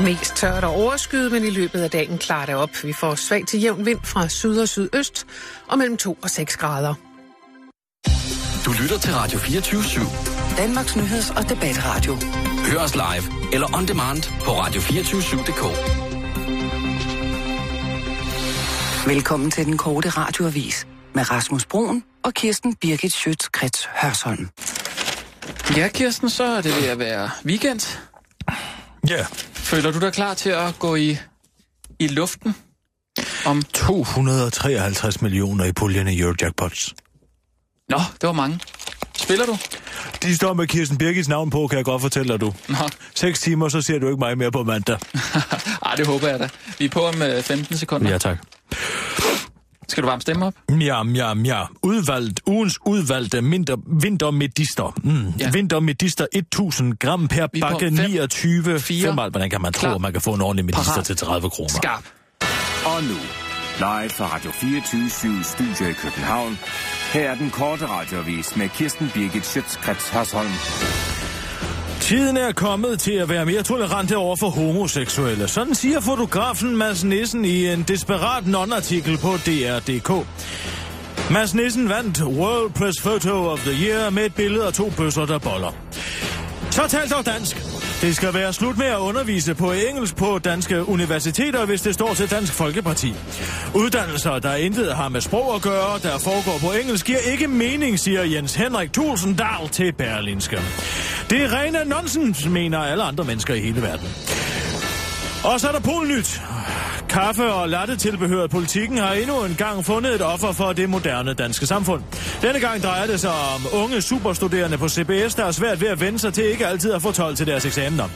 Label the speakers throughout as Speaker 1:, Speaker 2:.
Speaker 1: Mest tørt og overskyet, men i løbet af dagen klarer det op. Vi får svag til jævn vind fra syd og sydøst og mellem 2 og 6 grader.
Speaker 2: Du lytter til Radio 24 /7.
Speaker 3: Danmarks Nyheds- og Debatradio.
Speaker 2: Hør os live eller on demand på radio247.dk.
Speaker 3: Velkommen til den korte radioavis med Rasmus Broen og Kirsten Birgit Schøtz-Krets Hørsholm.
Speaker 4: Ja, Kirsten, så er det ved at være weekend.
Speaker 5: Ja,
Speaker 4: Føler du dig klar til at gå i, i luften om to?
Speaker 5: 153 millioner i puljen i Eurojackpots.
Speaker 4: Nå, det var mange. Spiller du?
Speaker 5: De står med Kirsten Birgits navn på, kan jeg godt fortælle dig, du.
Speaker 4: Nå,
Speaker 5: 6 timer, så ser du ikke mig mere på mandag.
Speaker 4: Ej, det håber jeg da. Vi er på om øh, 15 sekunder. Ja.
Speaker 5: tak.
Speaker 4: Skal du varme stemme op?
Speaker 5: Ja, ja, ja. Udvalgt, ugens udvalgte mindre, vintermedister. Mm.
Speaker 4: Ja.
Speaker 5: Ja. Vintermedister 1000 gram per
Speaker 4: Vi er på
Speaker 5: bakke
Speaker 4: fem,
Speaker 5: 29.
Speaker 4: fire,
Speaker 5: 5, hvordan kan man
Speaker 4: klar,
Speaker 5: tro, at man kan få en ordentlig medister
Speaker 4: parat,
Speaker 5: til 30 kroner?
Speaker 4: Skarp.
Speaker 6: Og nu, live fra Radio 24 Studio i København. Her er den korte radiovis med Kirsten Birgit Schøtzgrads Hasholm.
Speaker 5: Tiden er kommet til at være mere tolerante over for homoseksuelle. Sådan siger fotografen Mads Nissen i en desperat nonartikel på DR.dk. Mads Nissen vandt World Press Photo of the Year med et billede af to bøsser, der boller. Så tal dog dansk. Det skal være slut med at undervise på engelsk på danske universiteter, hvis det står til Dansk Folkeparti. Uddannelser, der intet har med sprog at gøre, der foregår på engelsk, giver ikke mening, siger Jens Henrik Tulsendal til Berlinske. Det er rene nonsens, mener alle andre mennesker i hele verden. Og så er der Polnyt. Kaffe og lattetilbehøret politikken har endnu en gang fundet et offer for det moderne danske samfund. Denne gang drejer det sig om unge superstuderende på CBS, der er svært ved at vende sig til ikke altid at få 12 til deres eksamener.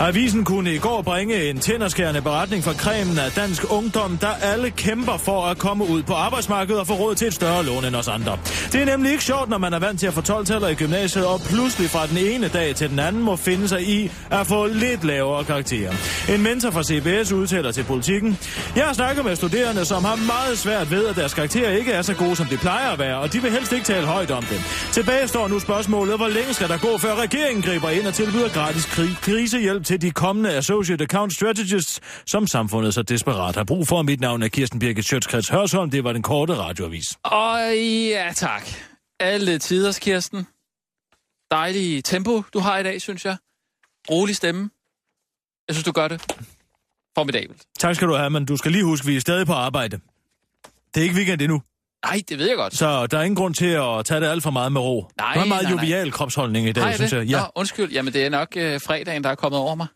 Speaker 5: Avisen kunne i går bringe en tænderskærende beretning fra kremen af dansk ungdom, der alle kæmper for at komme ud på arbejdsmarkedet og få råd til et større lån end os andre. Det er nemlig ikke sjovt, når man er vant til at få 12-taller i gymnasiet, og pludselig fra den ene dag til den anden må finde sig i at få lidt lavere karakterer. En mentor fra CBS udtaler til politikken, Jeg snakker med studerende, som har meget svært ved, at deres karakterer ikke er så gode, som de plejer at være, og de vil helst ikke tale højt om dem. Tilbage står nu spørgsmålet, hvor længe skal der gå, før regeringen griber ind og tilbyder gratis kri- krisehjælp til de kommende Associate Account Strategists, som samfundet så desperat har brug for. Mit navn er Kirsten Birgit Sjøtskrets Hørsholm. Det var den korte radioavis.
Speaker 4: Og ja, tak. Alle tiders, Kirsten. Dejlig tempo, du har i dag, synes jeg. Rolig stemme. Jeg synes, du gør det. Formidabelt.
Speaker 5: Tak skal du have, men du skal lige huske, vi er stadig på arbejde. Det er ikke weekend endnu,
Speaker 4: Nej, det ved jeg godt.
Speaker 5: så der er ingen grund til at tage det alt for meget med ro.
Speaker 4: Nej,
Speaker 5: det var en meget
Speaker 4: nej, nej.
Speaker 5: jovial kropsholdning i dag,
Speaker 4: Har
Speaker 5: synes
Speaker 4: det?
Speaker 5: jeg. Ja.
Speaker 4: Nå, undskyld. Jamen, det er nok øh, fredagen, der er kommet over mig.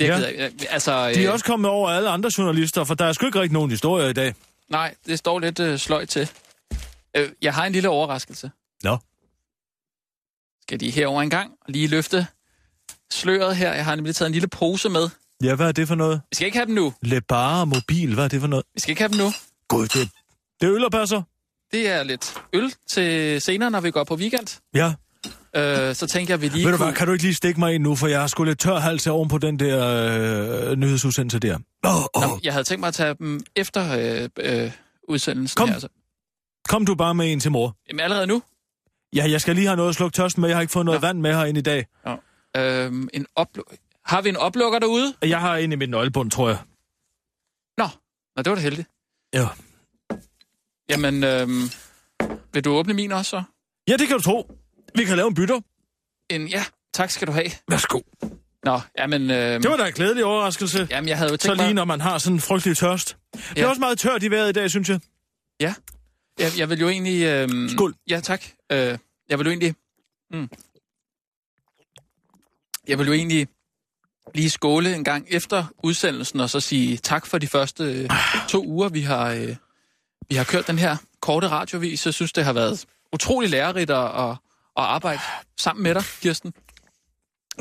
Speaker 4: Det
Speaker 5: Ja.
Speaker 4: ja. jeg, ikke. altså, øh,
Speaker 5: De er også kommet over alle andre journalister, for der er sgu ikke rigtig nogen historier i dag.
Speaker 4: Nej, det står lidt øh, sløjt til. Øh, jeg har en lille overraskelse.
Speaker 5: Nå.
Speaker 4: Skal de herover en gang og lige løfte sløret her? Jeg har nemlig taget en lille pose med.
Speaker 5: Ja, hvad er det for noget?
Speaker 4: Vi skal ikke have den nu.
Speaker 5: Le bare mobil, hvad er det for noget?
Speaker 4: Vi skal ikke have den nu.
Speaker 5: Gud, det, det er øl og passer.
Speaker 4: Det er lidt øl til senere, når vi går på weekend.
Speaker 5: Ja,
Speaker 4: Øh, så tænker jeg, vi lige
Speaker 5: ved du hvad, kan du ikke lige stikke mig ind nu, for jeg har sgu lidt tør hals her oven på den der øh, nyhedsudsendelse der. Åh, åh.
Speaker 4: Nå, jeg havde tænkt mig at tage dem efter øh, øh, udsendelsen
Speaker 5: Kom.
Speaker 4: her. Altså.
Speaker 5: Kom du bare med en til mor.
Speaker 4: Jamen, allerede nu.
Speaker 5: Ja, jeg skal lige have noget at slukke tørsten med, jeg har ikke fået noget
Speaker 4: Nå.
Speaker 5: vand med herinde i dag.
Speaker 4: Øh, en oplu- har vi en oplukker derude?
Speaker 5: Jeg har en i min nøglebund, tror jeg.
Speaker 4: Nå, Nå det var da heldigt.
Speaker 5: Ja.
Speaker 4: Jamen, øh, vil du åbne min også så?
Speaker 5: Ja, det kan du tro. Vi kan lave en bytter.
Speaker 4: En, ja, tak skal du have.
Speaker 5: Værsgo.
Speaker 4: Nå, jamen, øh,
Speaker 5: Det var da en glædelig overraskelse. Ja,
Speaker 4: jamen jeg havde jo
Speaker 5: så
Speaker 4: tænkt
Speaker 5: lige
Speaker 4: mig...
Speaker 5: når man har sådan en frygtelig tørst. Det er
Speaker 4: Ja.
Speaker 5: også meget tørt i vejret i dag, synes jeg.
Speaker 4: Jeg, jeg vil jo egentlig... Øh,
Speaker 5: Skål.
Speaker 4: Ja, tak. Øh, jeg vil jo egentlig... Mm, jeg vil jo egentlig lige skåle en gang efter udsendelsen, og så sige tak for de første øh, to uger, vi har, øh, vi har kørt den her korte radiovis. Jeg synes, det har været utrolig lærerigt at, at, at arbejde sammen med dig, Kirsten.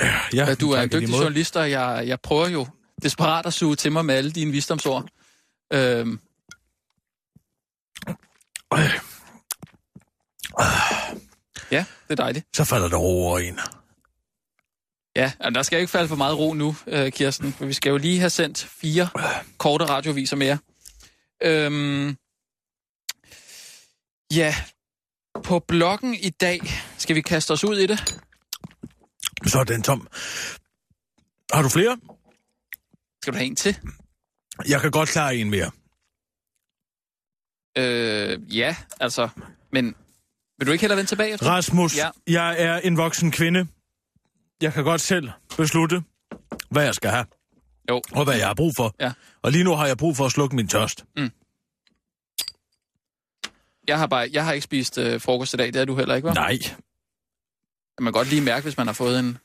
Speaker 5: Ja,
Speaker 4: Ja, du er
Speaker 5: tak
Speaker 4: en
Speaker 5: i lige
Speaker 4: dygtig
Speaker 5: måde.
Speaker 4: journalist, og jeg, jeg prøver jo desperat at suge til mig med alle dine visdomsord. Øhm, ja, det er dejligt.
Speaker 5: Så falder der ro over en.
Speaker 4: Ja, altså, der skal ikke falde for meget ro nu, øh, Kirsten, for vi skal jo lige have sendt fire korte radioviser mere. Øhm, ja, på bloggen i dag skal vi kaste os ud i det.
Speaker 5: Så er den tom. Har du flere?
Speaker 4: Skal du have en til?
Speaker 5: Jeg kan godt klare en mere.
Speaker 4: Øh, ja, altså, men vil du ikke hellere vende tilbage? efter?
Speaker 5: Rasmus, ja.
Speaker 4: Ja.
Speaker 5: jeg er en voksen kvinde. Jeg kan godt selv beslutte, hvad jeg skal have,
Speaker 4: Jo,
Speaker 5: og hvad jeg har brug for.
Speaker 4: Ja.
Speaker 5: Og lige nu har jeg brug for at slukke min tørst.
Speaker 4: jeg har, bare, jeg har ikke spist øh, frokost i dag, det er du heller ikke, hva'?
Speaker 5: Nej.
Speaker 4: Man kan godt lige mærke, hvis man har fået en,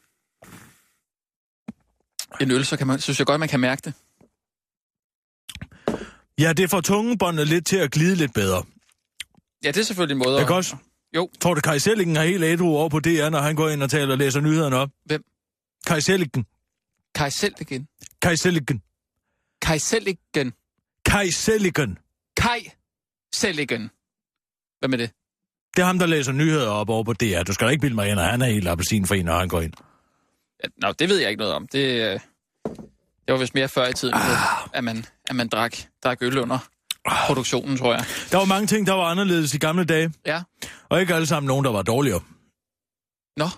Speaker 4: en øl, så kan man, synes jeg godt, man kan mærke det.
Speaker 5: Ja, det får tungebåndet lidt til at glide lidt bedre.
Speaker 4: Ja, det er selvfølgelig en måde
Speaker 5: Ikke også?
Speaker 4: Jo.
Speaker 5: Tror du, Kaj Sellingen har helt ædru over på DR, når han går ind og taler og læser nyhederne op?
Speaker 4: Hvem?
Speaker 5: Kaj Sellingen.
Speaker 4: Kaj selv igen.
Speaker 5: Kaj Sellingen.
Speaker 4: Kaj selv igen.
Speaker 5: Kaj Sellingen.
Speaker 4: Kaj selv igen. Hvad med det?
Speaker 5: Det er ham, der læser nyheder op over på DR. Du skal da ikke bilde mig ind, at han er helt appelsinfri, når han går ind.
Speaker 4: Ja, nå, det ved jeg ikke noget om. Det, øh, det var vist mere før i tiden, ah. at, man, at man drak, drak øl under produktionen, tror jeg.
Speaker 5: Der var mange ting, der var anderledes i gamle dage,
Speaker 4: Ja.
Speaker 5: og ikke alle sammen nogen, der var dårligere.
Speaker 4: Nå.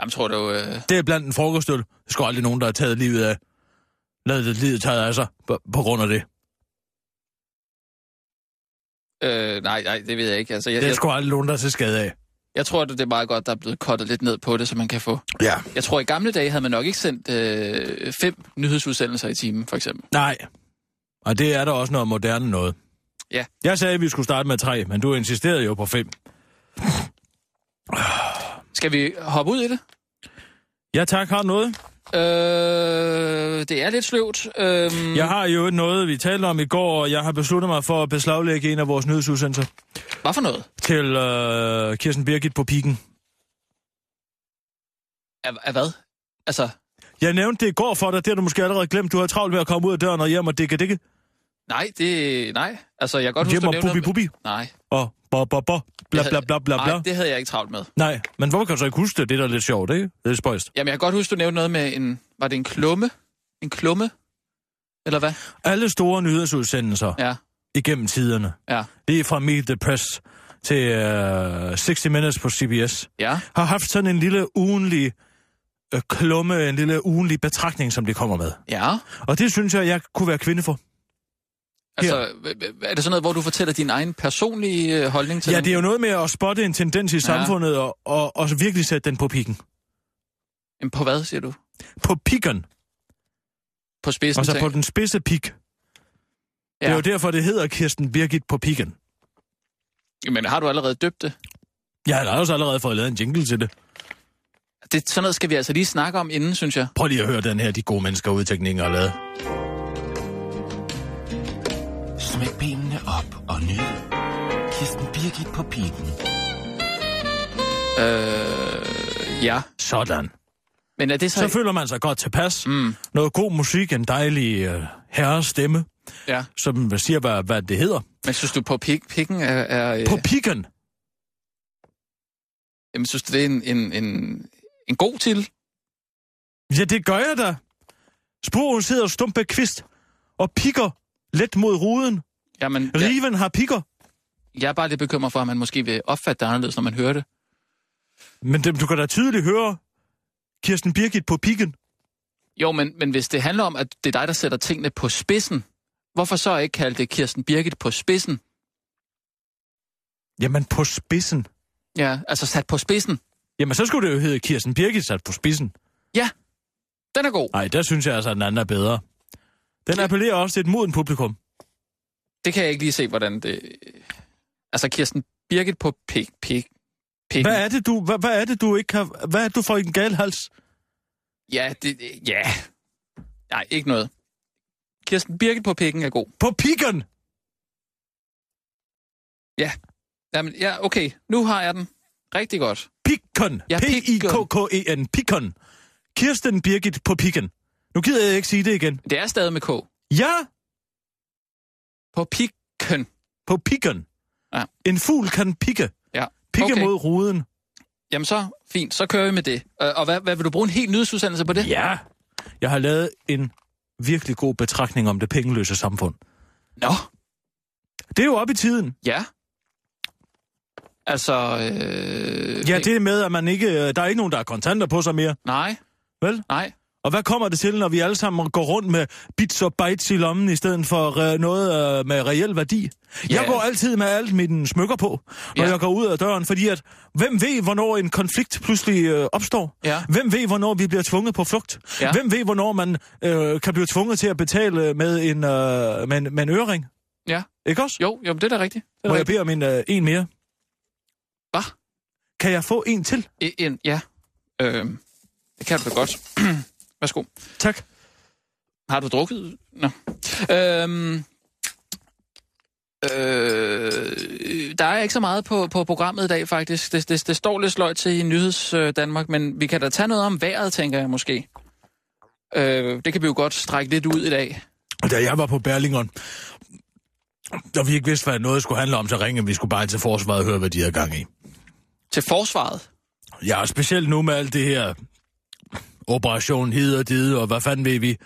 Speaker 4: Jamen, tror du... Øh,
Speaker 5: Det er blandt en frokostøl. Der skal aldrig nogen, der har taget livet af. Lad det livet taget af sig på, på grund af det.
Speaker 4: øh, nej, nej, det ved jeg ikke. Altså, jeg,
Speaker 5: Det er
Speaker 4: jeg,
Speaker 5: sgu aldrig nogen, der er til skade af.
Speaker 4: jeg tror, det er meget godt, der er blevet kottet lidt ned på det, så man kan få...
Speaker 5: Ja.
Speaker 4: Jeg tror, i gamle dage havde man nok ikke sendt øh, fem nyhedsudsendelser i timen, for eksempel.
Speaker 5: Nej. Og det er der også noget moderne noget.
Speaker 4: Ja.
Speaker 5: Jeg sagde, at vi skulle starte med tre, men du insisterede jo på fem.
Speaker 4: Skal vi hoppe ud i det?
Speaker 5: Ja tak, har du noget? Mm.
Speaker 4: Øh, det er lidt sløvt. Øhm,
Speaker 5: Jeg har jo noget, vi talte om i går, og jeg har besluttet mig for at beslaglægge en af vores nyhedsudsendelser
Speaker 4: Hvad for noget?
Speaker 5: til øh, Kirsten Birgit på pikken.
Speaker 4: Af, af hvad? Altså,
Speaker 5: Jeg nævnte det i går for dig, det har du måske allerede glemt. Du har travlt med at komme ud af døren og hjem og dække dække.
Speaker 4: nej, det... Nej. Altså, jeg kan godt huske,
Speaker 5: Hjem
Speaker 4: du
Speaker 5: og
Speaker 4: nævnte...
Speaker 5: bubi bubi
Speaker 4: Nej.
Speaker 5: og bo bo bo. Bla bla bla bla bla.
Speaker 4: Nej, det havde jeg ikke travlt med.
Speaker 5: Nej, men hvorfor kan du så ikke huske det? Det er da lidt sjovt, ikke? Det er lidt spøjst.
Speaker 4: Jamen, jeg kan godt huske, du nævnte noget med en... Var det en klumme? En klumme? Eller hvad?
Speaker 5: Alle store nyhedsudsendelser ja.
Speaker 4: Ja,
Speaker 5: igennem tiderne,
Speaker 4: ja,
Speaker 5: lige fra Meet the Press til uh, 60 Minutes på CBS,
Speaker 4: ja.
Speaker 5: har haft sådan en lille ugenlig øh, klumme, en lille ugenlig betragtning, som de kommer med.
Speaker 4: Ja,
Speaker 5: Og det synes jeg, jeg kunne være kvinde for.
Speaker 4: altså, h- h- er det sådan noget, hvor du fortæller din egen personlige øh, holdning til
Speaker 5: Ja,
Speaker 4: den?
Speaker 5: det er jo noget med at spotte en tendens i samfundet og, og, og virkelig sætte den på pikken.
Speaker 4: Jamen, På hvad, siger du?
Speaker 5: På pikken,
Speaker 4: På spidsen?
Speaker 5: altså på
Speaker 4: tænker-
Speaker 5: den spidse pik. Ja. Det er jo
Speaker 4: ja.
Speaker 5: derfor, det hedder Kirsten Birgit på pikken.
Speaker 4: Men har du allerede døbt det?
Speaker 5: Jeg har da også allerede fået lavet en jingle til det.
Speaker 4: det? Sådan noget skal vi altså lige snakke om inden, synes jeg.
Speaker 5: Prøv lige at høre den her, de gode mennesker ude i teknikken har lavet.
Speaker 7: Smæk benene op og nyd. Kirsten Birgit på pigen.
Speaker 4: Øh, Ja.
Speaker 5: Sådan.
Speaker 4: Men er det så...
Speaker 5: Så føler man sig godt tilpas.
Speaker 4: Mm.
Speaker 5: Noget god musik, en dejlig øh, herrestemme,
Speaker 4: Ja.
Speaker 5: som siger, hvad, hvad det hedder.
Speaker 4: Men synes du, på pik, pikken er... er øh,
Speaker 5: På pikken.
Speaker 4: jamen, synes du, det er en, en, en, en god til?
Speaker 5: Ja, det gør jeg da. Sporen sidder stumpe kvist og pikker let mod ruden.
Speaker 4: Jamen, jeg,
Speaker 5: Riven har pikker.
Speaker 4: jeg er bare lidt bekymret for, at man måske vil opfatte det anderledes, når man hører det.
Speaker 5: Men dem, du kan da tydeligt høre Kirsten Birgit på pikken.
Speaker 4: Jo, men, men hvis det handler om, at det er dig, der sætter tingene på spidsen, hvorfor så ikke kalde det Kirsten Birgit på spidsen?
Speaker 5: Jamen, på spidsen.
Speaker 4: Ja, altså sat på spidsen.
Speaker 5: Jamen, så skulle det jo hedde Kirsten Birgit sat på spidsen.
Speaker 4: Den er god.
Speaker 5: Nej, der synes jeg altså, at den anden er bedre. Den appellerer også til et moden publikum.
Speaker 4: Det kan jeg ikke lige se, hvordan det... Altså Kirsten Birgit på pik, pik, pik.
Speaker 5: Hvad er det, du, hvad, hvad er det, du ikke har... Hvad er det, du får i en gal hals?
Speaker 4: Ja, det... Ja. Nej, ikke noget. Kirsten Birgit på pikken er god.
Speaker 5: På pikken!
Speaker 4: Jamen, ja, okay. Nu har jeg den. Rigtig godt.
Speaker 5: Pikken!
Speaker 4: Ja,
Speaker 5: P-I-K-K-E-N. E Pikken. Kirsten Birgit på pikken. Nu gider jeg ikke sige det igen.
Speaker 4: Det er stadig med K.
Speaker 5: Ja,
Speaker 4: På pikken.
Speaker 5: på pikken.
Speaker 4: Ja.
Speaker 5: En fugl kan pikke.
Speaker 4: Ja.
Speaker 5: Pikke
Speaker 4: Okay.
Speaker 5: mod ruden.
Speaker 4: Jamen så, fint. Så kører vi med det. Øh, Og hvad, hvad vil du bruge en helt nyhedsudsendelse på det?
Speaker 5: Ja. Jeg har lavet en virkelig god betragtning om det pengeløse samfund.
Speaker 4: Nå,
Speaker 5: Det er jo op i tiden.
Speaker 4: ja. Altså, øh,
Speaker 5: øh, Ja, det er med, at man ikke, der er ikke nogen, der er kontanter på sig mere.
Speaker 4: Nej.
Speaker 5: Vel?
Speaker 4: Nej.
Speaker 5: Og hvad kommer det til, når vi alle sammen går rundt med bits og bytes i lommen, i stedet for øh, noget øh, med reel værdi? Ja. Jeg
Speaker 4: Ja.
Speaker 5: går altid med alt mine smykker på, når
Speaker 4: Ja.
Speaker 5: jeg går ud af døren, fordi at, hvem ved, hvornår en konflikt pludselig øh, opstår?
Speaker 4: Ja.
Speaker 5: Hvem ved, hvornår vi bliver tvunget på flugt?
Speaker 4: Ja.
Speaker 5: Hvem ved, hvornår man øh, kan blive tvunget til at betale med en, øh, med, en- med en ørering?
Speaker 4: Ja.
Speaker 5: Ikke også?
Speaker 4: Jo, jo, men det er da rigtigt. Det er
Speaker 5: Må
Speaker 4: da
Speaker 5: jeg
Speaker 4: rigtigt.
Speaker 5: bede om en, øh, en mere?
Speaker 4: Hvad?
Speaker 5: Kan jeg få en til?
Speaker 4: E- en, ja. Øhm, det kan du da godt. Værsgo.
Speaker 5: Tak.
Speaker 4: Har du drukket? Nå. Øhm, øh, der er ikke så meget på, på programmet i dag, faktisk. Det, det, det står lidt sløjt til i Nyheds øh, Danmark, men vi kan da tage noget om vejret, tænker jeg måske. Øh, det kan vi jo godt strække lidt ud i dag.
Speaker 5: Da jeg var på Berlingeren, og vi ikke vidste, hvad noget skulle handle om, så ringede vi skulle bare til forsvaret og høre, hvad de havde gang i.
Speaker 4: Til forsvaret.
Speaker 5: Ja, og specielt nu med alt det her operation hid og dide, og hvad fanden ved vi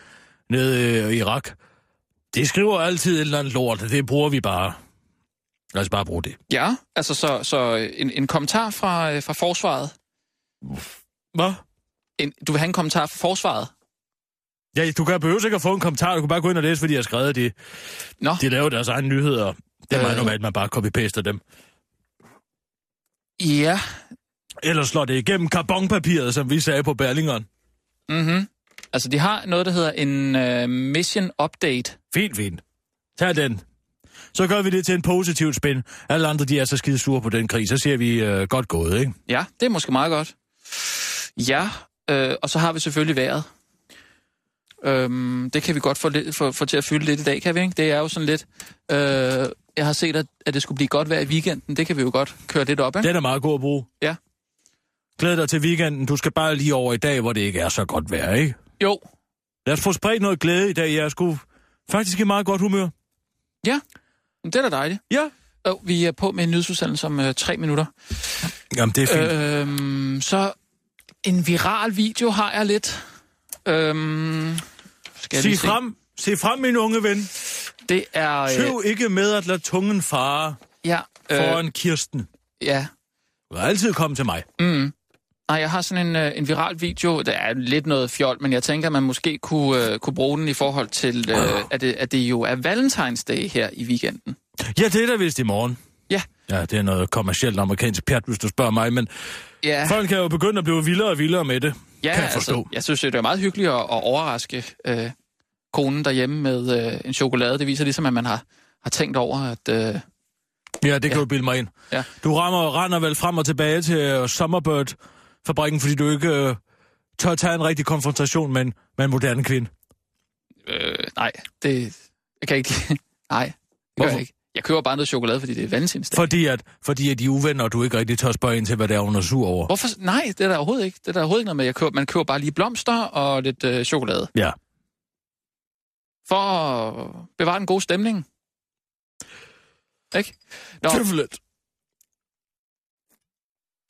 Speaker 5: nede øh, i Irak. Det skriver altid et eller andet lort, og det bruger vi bare. Lad os bare bruge det.
Speaker 4: Ja, altså så, så en, en kommentar fra, øh, fra forsvaret.
Speaker 5: Hvad?
Speaker 4: En, du vil have en kommentar fra forsvaret?
Speaker 5: Ja, du kan behøve ikke at få en kommentar, du kan bare gå ind og læse, fordi jeg har skrevet det.
Speaker 4: Nå.
Speaker 5: De laver deres egne nyheder. Det er meget
Speaker 4: Øh.
Speaker 5: normalt, man bare copy-paster dem.
Speaker 4: Ja.
Speaker 5: Ellers slår det igennem karbonpapiret, som vi sagde på Berlingeren.
Speaker 4: Mm-hmm. Altså, de har noget, der hedder en øh, mission update.
Speaker 5: Fint, fint. Tag den. Så gør vi det til en positiv spin. Alle andre, de er så skide sure på den krig. Så ser vi øh, godt gået, ikke?
Speaker 4: Ja, det er måske meget godt. Ja, øh, og så har vi selvfølgelig vejret. Øhm, det kan vi godt få, lidt, få, få til at fylde lidt i dag, kan vi ikke? Det er jo sådan lidt... Øh, jeg har set, at, at det skulle blive godt vejr i weekenden. Det kan vi jo godt køre lidt op, ikke?
Speaker 5: Den er meget god at bruge.
Speaker 4: Ja.
Speaker 5: Glæd dig til weekenden. Du skal bare lige over i dag, hvor det ikke er så godt vejr, ikke?
Speaker 4: Jo,
Speaker 5: Lad os få spredt noget glæde i dag. Jeg er sgu faktisk i meget godt humør.
Speaker 4: men det er da dejligt.
Speaker 5: Ja.
Speaker 4: Jo, vi er på med en nyhedsudsendelse om øh, tre minutter.
Speaker 5: Jamen, det er fint. Øh.
Speaker 4: Øhm, så en viral video har jeg lidt. Øhm, skal jeg lige
Speaker 5: Se
Speaker 4: se.
Speaker 5: frem. Se frem, min unge ven.
Speaker 4: Det er... øh,
Speaker 5: Tøv ikke med at lade tungen fare
Speaker 4: ja, øh,
Speaker 5: foran Kirsten.
Speaker 4: ja,
Speaker 5: Du har altid kommet til mig.
Speaker 4: Mm. Nej, jeg har sådan en, øh, en viral video. Det er lidt noget fjol, men jeg tænker, at man måske kunne, øh, kunne bruge den i forhold til,
Speaker 5: Ah.
Speaker 4: øh, at, det, at det jo er Valentine's Day her i weekenden.
Speaker 5: Ja, det er da vist i morgen.
Speaker 4: Ja.
Speaker 5: Ja, det er noget kommercielt amerikansk pjat, hvis du spørger mig, men
Speaker 4: Ja,
Speaker 5: Folk kan jo begynde at blive vildere og vildere med det.
Speaker 4: ja altså,
Speaker 5: kan jeg forstå.
Speaker 4: jeg synes, jo, det er meget hyggeligt at, at overraske øh, konen derhjemme med øh, en chokolade. Det viser ligesom, at man har, har tænkt over, at... Øh,
Speaker 5: Ja, det kan ja. du bilde mig ind.
Speaker 4: Ja.
Speaker 5: Du rammer og render vel frem og tilbage til uh, Summerbird-fabrikken, fordi du ikke uh, tør tage en rigtig konfrontation med en, med en moderne kvinde.
Speaker 4: øh, nej, det... Jeg kan ikke... nej, det gør
Speaker 5: Hvorfor?
Speaker 4: jeg ikke. Jeg køber bare noget chokolade, fordi det er Valentine's Day.
Speaker 5: Fordi at, fordi at de er uvenner, og du ikke rigtig tør spørge ind til, hvad det er, hun er sur over.
Speaker 4: Hvorfor? Nej, det er der overhovedet ikke. Det er der overhovedet ikke noget med. Jeg køber, man køber bare lige blomster og lidt øh, chokolade.
Speaker 5: Ja.
Speaker 4: For at bevare en god stemning. Ikke? Nå,
Speaker 5: Tøffeligt.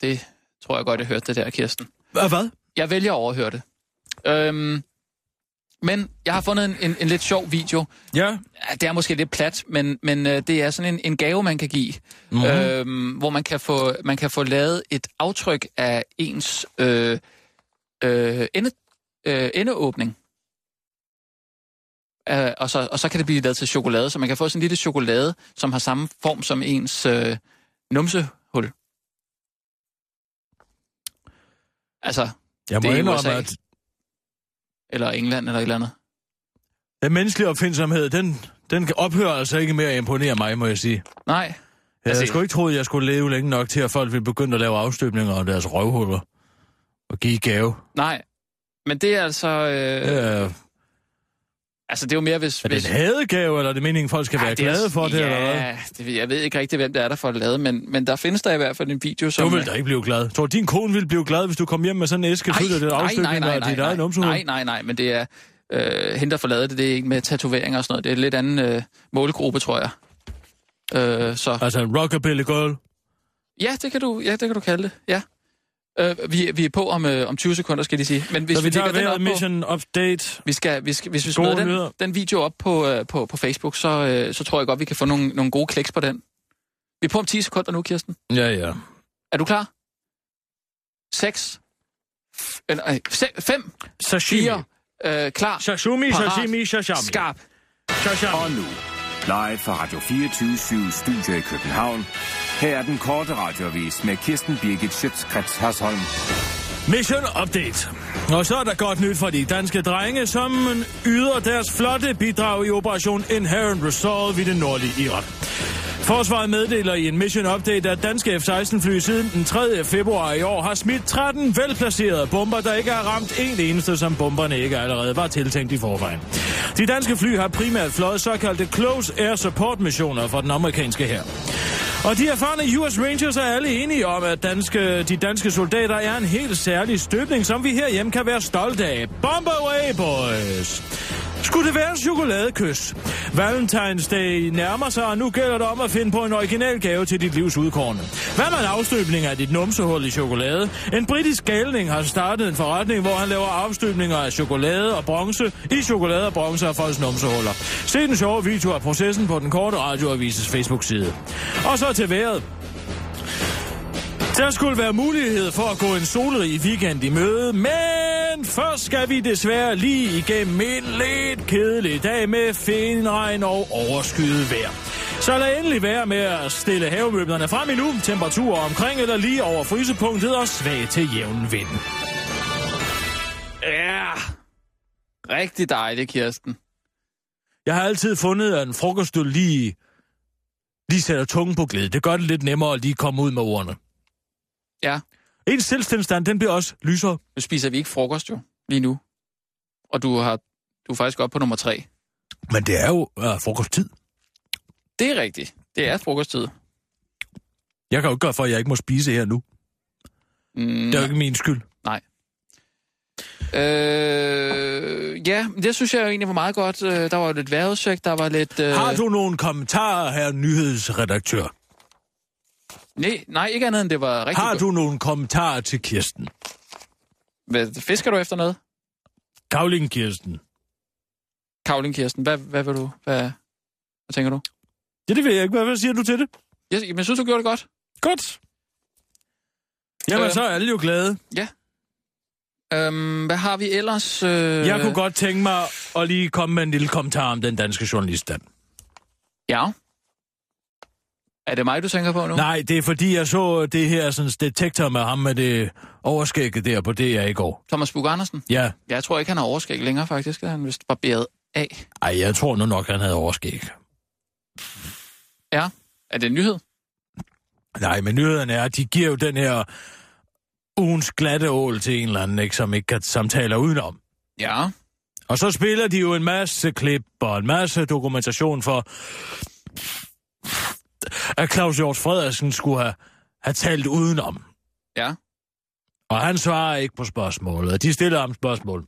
Speaker 4: det tror jeg godt, jeg hørte det der, Kirsten.
Speaker 5: Hvad? hvad?
Speaker 4: Jeg vælger at overhøre det. Øhm, men jeg har fundet en, en, en lidt sjov video.
Speaker 5: Ja.
Speaker 4: Ja, Det er måske lidt plat, men, men øh, det er sådan en, en gave, man kan give.
Speaker 5: Mhm.
Speaker 4: Mm-hmm. Øhm, hvor man kan, få, man kan få lavet et aftryk af ens øh, øh, ende, øh, endeåbning. Øh, og, så, og så kan det blive lavet til chokolade, så man kan få sådan en lille chokolade, som har samme form som ens øh, numsehul. Altså,
Speaker 5: Jeg må
Speaker 4: Det er i
Speaker 5: indrømme,
Speaker 4: USA.
Speaker 5: at
Speaker 4: eller England eller et eller andet.
Speaker 5: den menneskelige opfindsomhed, den, den kan- ophører altså ikke med at imponere mig, må jeg sige.
Speaker 4: Nej,
Speaker 5: Jeg
Speaker 4: Altså-
Speaker 5: altså, skulle ikke tro, at jeg skulle leve længe nok til, at folk ville begynde at lave afstøbninger af deres røvhuller og give gave.
Speaker 4: nej. Men det er altså... Øh,
Speaker 5: Øh,
Speaker 4: Altså, det er jo mere, hvis...
Speaker 5: Er det
Speaker 4: hvis...
Speaker 5: en hadegave, eller er det meningen, folk skal være
Speaker 4: Ej,
Speaker 5: glade for det,
Speaker 4: ja,
Speaker 5: eller hvad?
Speaker 4: det ved- jeg ved ikke rigtig, hvem det er, der får det lavet, men, men der findes der i hvert fald en video, som...
Speaker 5: Du vil da ikke blive glad. Tror du, din kone ville blive glad, hvis du kom hjem med sådan en æske fyldt af det
Speaker 4: nej, nej,
Speaker 5: afstøbning
Speaker 4: nej,
Speaker 5: af
Speaker 4: nej,
Speaker 5: dit
Speaker 4: nej,
Speaker 5: eget numsehul?
Speaker 4: nej, nej, nej, men det er... Øh, hende, der får lavet det, det er ikke med tatoveringer og sådan noget. Det er en lidt anden øh, målgruppe, tror jeg. Øh, så...
Speaker 5: Altså en rockabilly girl.
Speaker 4: Ja, det kan du, ja, det kan du kalde det, ja. Øh, vi, vi er på om, øh, om 20 sekunder, skal de sige. Men hvis
Speaker 5: Så vi tager
Speaker 4: lægger den op
Speaker 5: vejret
Speaker 4: på-
Speaker 5: mission update.
Speaker 4: Vi skal, vi skal, hvis vi
Speaker 5: Gode
Speaker 4: smider den,
Speaker 5: nyheder.
Speaker 4: den video op på, øh, på, på Facebook, så, øh, så tror jeg godt, vi kan få nogle, nogle gode kliks på den. Vi er på om 10 sekunder nu, Kirsten.
Speaker 5: Ja, ja.
Speaker 4: Er du klar? 6. Eller, 5.
Speaker 5: Sashimi.
Speaker 4: 4. øh, klar,
Speaker 5: Sashimi,
Speaker 4: parat,
Speaker 5: sashimi, sashami.
Speaker 4: skarp.
Speaker 5: Shasham.
Speaker 6: Og nu, live fra Radio 24 Studio i København. Her er den korte radiovis med Kirsten Birgit Schøtzgrads Hasholm.
Speaker 5: Mission Update. Og så er der godt nyt for de danske drenge, som yder deres flotte bidrag i Operation Inherent Resolve i det nordlige Irak. Forsvaret meddeler i en mission update, at danske F-16-fly siden den 3. februar i år har smidt 13 velplacerede bomber, der ikke har ramt en eneste, som bomberne ikke allerede var tiltænkt i forvejen. De danske fly har primært fløjet såkaldte Close Air Support-missioner for den amerikanske hær. Og de erfarne US Rangers er alle enige om, at danske, de danske soldater er en helt særlig støbning, som vi herhjemme kan være stolte af. Bomb away, boys! Skulle det være en chokoladekys? Valentine's Day nærmer sig, og nu gælder det om at finde på en original gave til dit livs udkårne. Hvad med en afstøbning af dit numsehul i chokolade? En britisk galning har startet en forretning, hvor han laver afstøbninger af chokolade og bronze i chokolade og bronze af folks numsehuller. Se den sjove video af processen på den korte radioavises Facebook-side. Og så til vejret. Der skulle være mulighed for at gå en solrig weekend i møde, men først skal vi desværre lige igennem en lidt kedelig dag med finregn og overskyet vejr. Så lad endelig være med at stille havemøblerne frem endnu. Temperaturer omkring eller lige over frysepunktet og svag til jævn vind.
Speaker 4: Ja, rigtig dejligt, Kirsten.
Speaker 5: Jeg har altid fundet, at en frokostøl lige, lige sætter tungen på glæde. Det gør det lidt nemmere at lige komme ud med ordene.
Speaker 4: Ja,
Speaker 5: En selvstændsstand, den bliver også lysere.
Speaker 4: nu spiser vi ikke frokost jo, lige nu. Og du, har, du er faktisk oppe på nummer tre.
Speaker 5: Men det er jo øh, frokosttid.
Speaker 4: Det er rigtigt. Det er frokosttid.
Speaker 5: Jeg kan jo ikke gøre for, at jeg ikke må spise her nu.
Speaker 4: Mm,
Speaker 5: Det er jo ikke min skyld.
Speaker 4: øh, ja, men det synes jeg jo egentlig var meget godt. Øh, Der var jo lidt vejrudsigt, der var lidt... Øh,
Speaker 5: Har du nogle kommentarer, her nyhedsredaktør?
Speaker 4: Nej, nej, ikke andet end det var rigtig
Speaker 5: Har
Speaker 4: godt.
Speaker 5: du nogle kommentarer til Kirsten?
Speaker 4: Hvad, fisker du efter noget?
Speaker 5: Kavling Kirsten.
Speaker 4: Kavling, Kirsten, hvad, hvad vil du? Hvad, hvad tænker du?
Speaker 5: Ja, det ved jeg ikke. Hvad hvad siger du til det?
Speaker 4: Jeg, men jeg synes, du gjorde det godt.
Speaker 5: Godt. Jamen,
Speaker 4: Øh.
Speaker 5: så er alle jo glade.
Speaker 4: Øhm, hvad har vi ellers? Øh,
Speaker 5: Jeg kunne godt tænke mig at lige komme med en lille kommentar om den danske journaliststand.
Speaker 4: Ja. Er det mig, du tænker på nu?
Speaker 5: Nej, det er fordi, jeg så det her sådan, detektor med ham med det overskægget der på DR i går.
Speaker 4: Thomas Bug Andersen?
Speaker 5: Ja,
Speaker 4: Jeg tror ikke, han har overskæg længere, faktisk. Han er vist barberet af.
Speaker 5: ej, jeg tror nu nok, han havde overskæg.
Speaker 4: Ja. Er det en nyhed?
Speaker 5: Nej, men nyhederne er, at de giver jo den her ugens glatte ål til en eller anden, ikke, som ikke kan samtale udenom.
Speaker 4: Ja.
Speaker 5: Og så spiller de jo en masse klip og en masse dokumentation for, at Claus Hjort Frederiksen skulle have, have talt udenom.
Speaker 4: Ja.
Speaker 5: Og han svarer ikke på spørgsmålet. De stiller ham spørgsmål.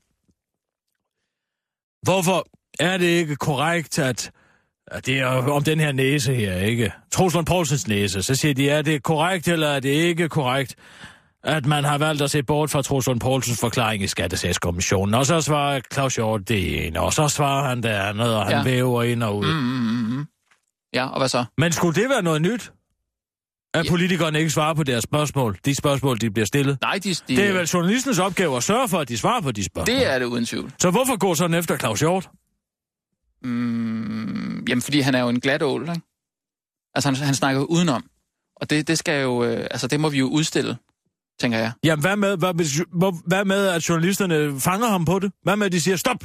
Speaker 5: Hvorfor er det ikke korrekt, at, at det er om den her næse her, ikke? Troels Lund Poulsens næse. Så siger de, er det korrekt, eller er det ikke korrekt, at man har valgt at se bort fra Troels Lund Poulsens forklaring i Skattesagskommissionen? Og så svarer Claus Hjort det ene, og så svarer han det andet, og han
Speaker 4: Ja.
Speaker 5: ja. væver ind og ud.
Speaker 4: Mm,
Speaker 5: Mm.
Speaker 4: mm, mm, mm. Ja, og hvad så?
Speaker 5: Men skulle det være noget nyt? At
Speaker 4: Ja.
Speaker 5: politikerne ikke svarer på deres spørgsmål? De spørgsmål, de bliver stillet?
Speaker 4: Nej, de, de,
Speaker 5: Det er vel journalistens opgave at sørge for, at de svarer på de spørgsmål.
Speaker 4: det er det uden tvivl.
Speaker 5: Så hvorfor gå sådan efter Claus Hjort?
Speaker 4: Mm, jamen, fordi han er jo en glat ål, ikke? Altså, han, han snakker jo udenom. Og det, det skal jo... Øh, altså, det må vi jo udstille, tænker jeg.
Speaker 5: Jamen, hvad med, hvad, hvis, hvor- hvad med, at journalisterne fanger ham på det? Hvad med, at de siger, stop,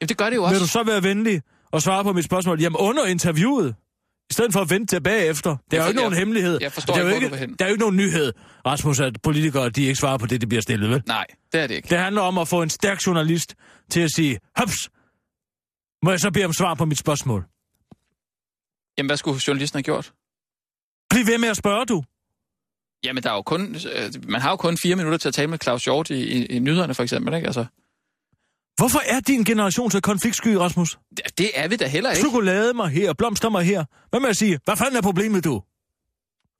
Speaker 4: Jamen, det gør det jo
Speaker 5: vil
Speaker 4: også.
Speaker 5: du så være venlig og svare på mit spørgsmål? Jamen, under interviewet, i stedet for at vente tilbage efter. Det er
Speaker 4: Jeg
Speaker 5: jo
Speaker 4: for-
Speaker 5: ikke nogen
Speaker 4: jeg-
Speaker 5: hemmelighed.
Speaker 4: jeg forstår
Speaker 5: Det er jo
Speaker 4: ikke, hvor du vil hen.
Speaker 5: Der er jo ikke nogen nyhed, Rasmus, at politikere de ikke svarer på det, de bliver stillet, vel?
Speaker 4: Nej, det er det ikke.
Speaker 5: Det handler om at få en stærk journalist til at sige, hops, må jeg så bede om svar på mit spørgsmål?
Speaker 4: Jamen, hvad skulle journalisten have gjort?
Speaker 5: Bliv ved med at spørge, du.
Speaker 4: Jamen, der er jo kun, øh, man har jo kun fire minutter til at tale med Claus Hjort i, i, i nyhederne, for eksempel, ikke? Altså,
Speaker 5: Hvorfor er din generation så konfliktsky, Rasmus?
Speaker 4: det, det er vi da heller ikke.
Speaker 5: Chokolade mig her, blomster mig her. Hvad med at sige, hvad fanden er problemet, du?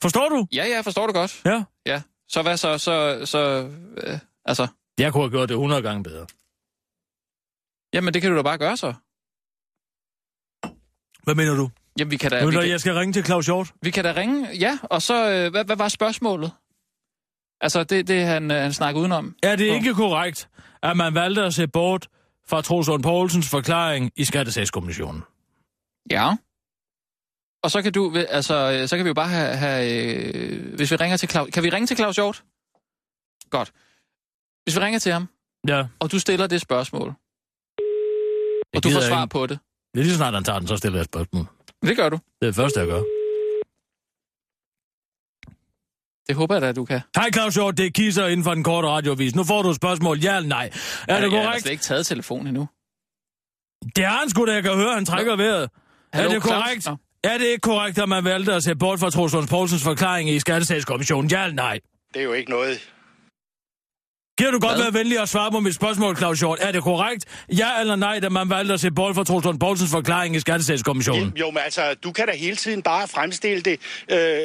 Speaker 5: Forstår du?
Speaker 4: Ja, ja, jeg forstår det godt.
Speaker 5: Ja.
Speaker 4: Ja. Så hvad så, så, så øh, altså,
Speaker 5: Jeg kunne have gjort det 100 gange bedre.
Speaker 4: jamen det kan du da bare gøre så.
Speaker 5: Hvad mener du?
Speaker 4: Jamen vi kan
Speaker 5: Ja,
Speaker 4: da, vi
Speaker 5: mener,
Speaker 4: kan,
Speaker 5: jeg skal ringe til Claus Hjort?
Speaker 4: vi kan da ringe, ja, og så, øh, hvad, hvad var spørgsmålet? Altså, det, det han, øh, han snakker udenom.
Speaker 5: Er det
Speaker 4: Nå.
Speaker 5: ikke korrekt, at man valgte at se bort fra Troelsund Poulsens forklaring i Skattesagskommissionen.
Speaker 4: Ja. Og så kan du, altså, øh, så kan vi jo bare have, have øh, hvis vi ringer til Claus, kan vi ringe til Claus Hjort? Godt. Hvis vi ringer til ham,
Speaker 5: Ja,
Speaker 4: og du stiller det spørgsmål, og du
Speaker 5: gider
Speaker 4: får svar
Speaker 5: ikke.
Speaker 4: på det.
Speaker 5: det er lige så snart han tager den, så stiller jeg et spørgsmål.
Speaker 4: Det gør du.
Speaker 5: Det er det første, jeg gør.
Speaker 4: Det håber jeg da, du kan.
Speaker 5: Hej Claus Hjort, det er Kisser inden for den korte radiovis. Nu får du et spørgsmål, ja eller nej. Er det altså,
Speaker 4: Jeg har
Speaker 5: korrekt?
Speaker 4: slet ikke taget telefonen endnu.
Speaker 5: Det har han sgu da, jeg kan høre, han trækker vejret. Er
Speaker 4: Hallo,
Speaker 5: det
Speaker 4: Claus?
Speaker 5: korrekt?
Speaker 4: Nå.
Speaker 5: Er det ikke korrekt, at man valgte at se bort fra Troslunds Poulsens forklaring i Skattesagskommissionen? Ja eller nej?
Speaker 8: Det er jo ikke noget.
Speaker 5: Kan du godt
Speaker 4: Hvad?
Speaker 5: være venlig at svare på mit spørgsmål, Claus Hjort? Er det korrekt? Ja eller nej, da man valgte at se bort fra Troslund Poulsens forklaring i Skattesagskommissionen?
Speaker 8: Jo, men altså, du kan da hele tiden bare fremstille det,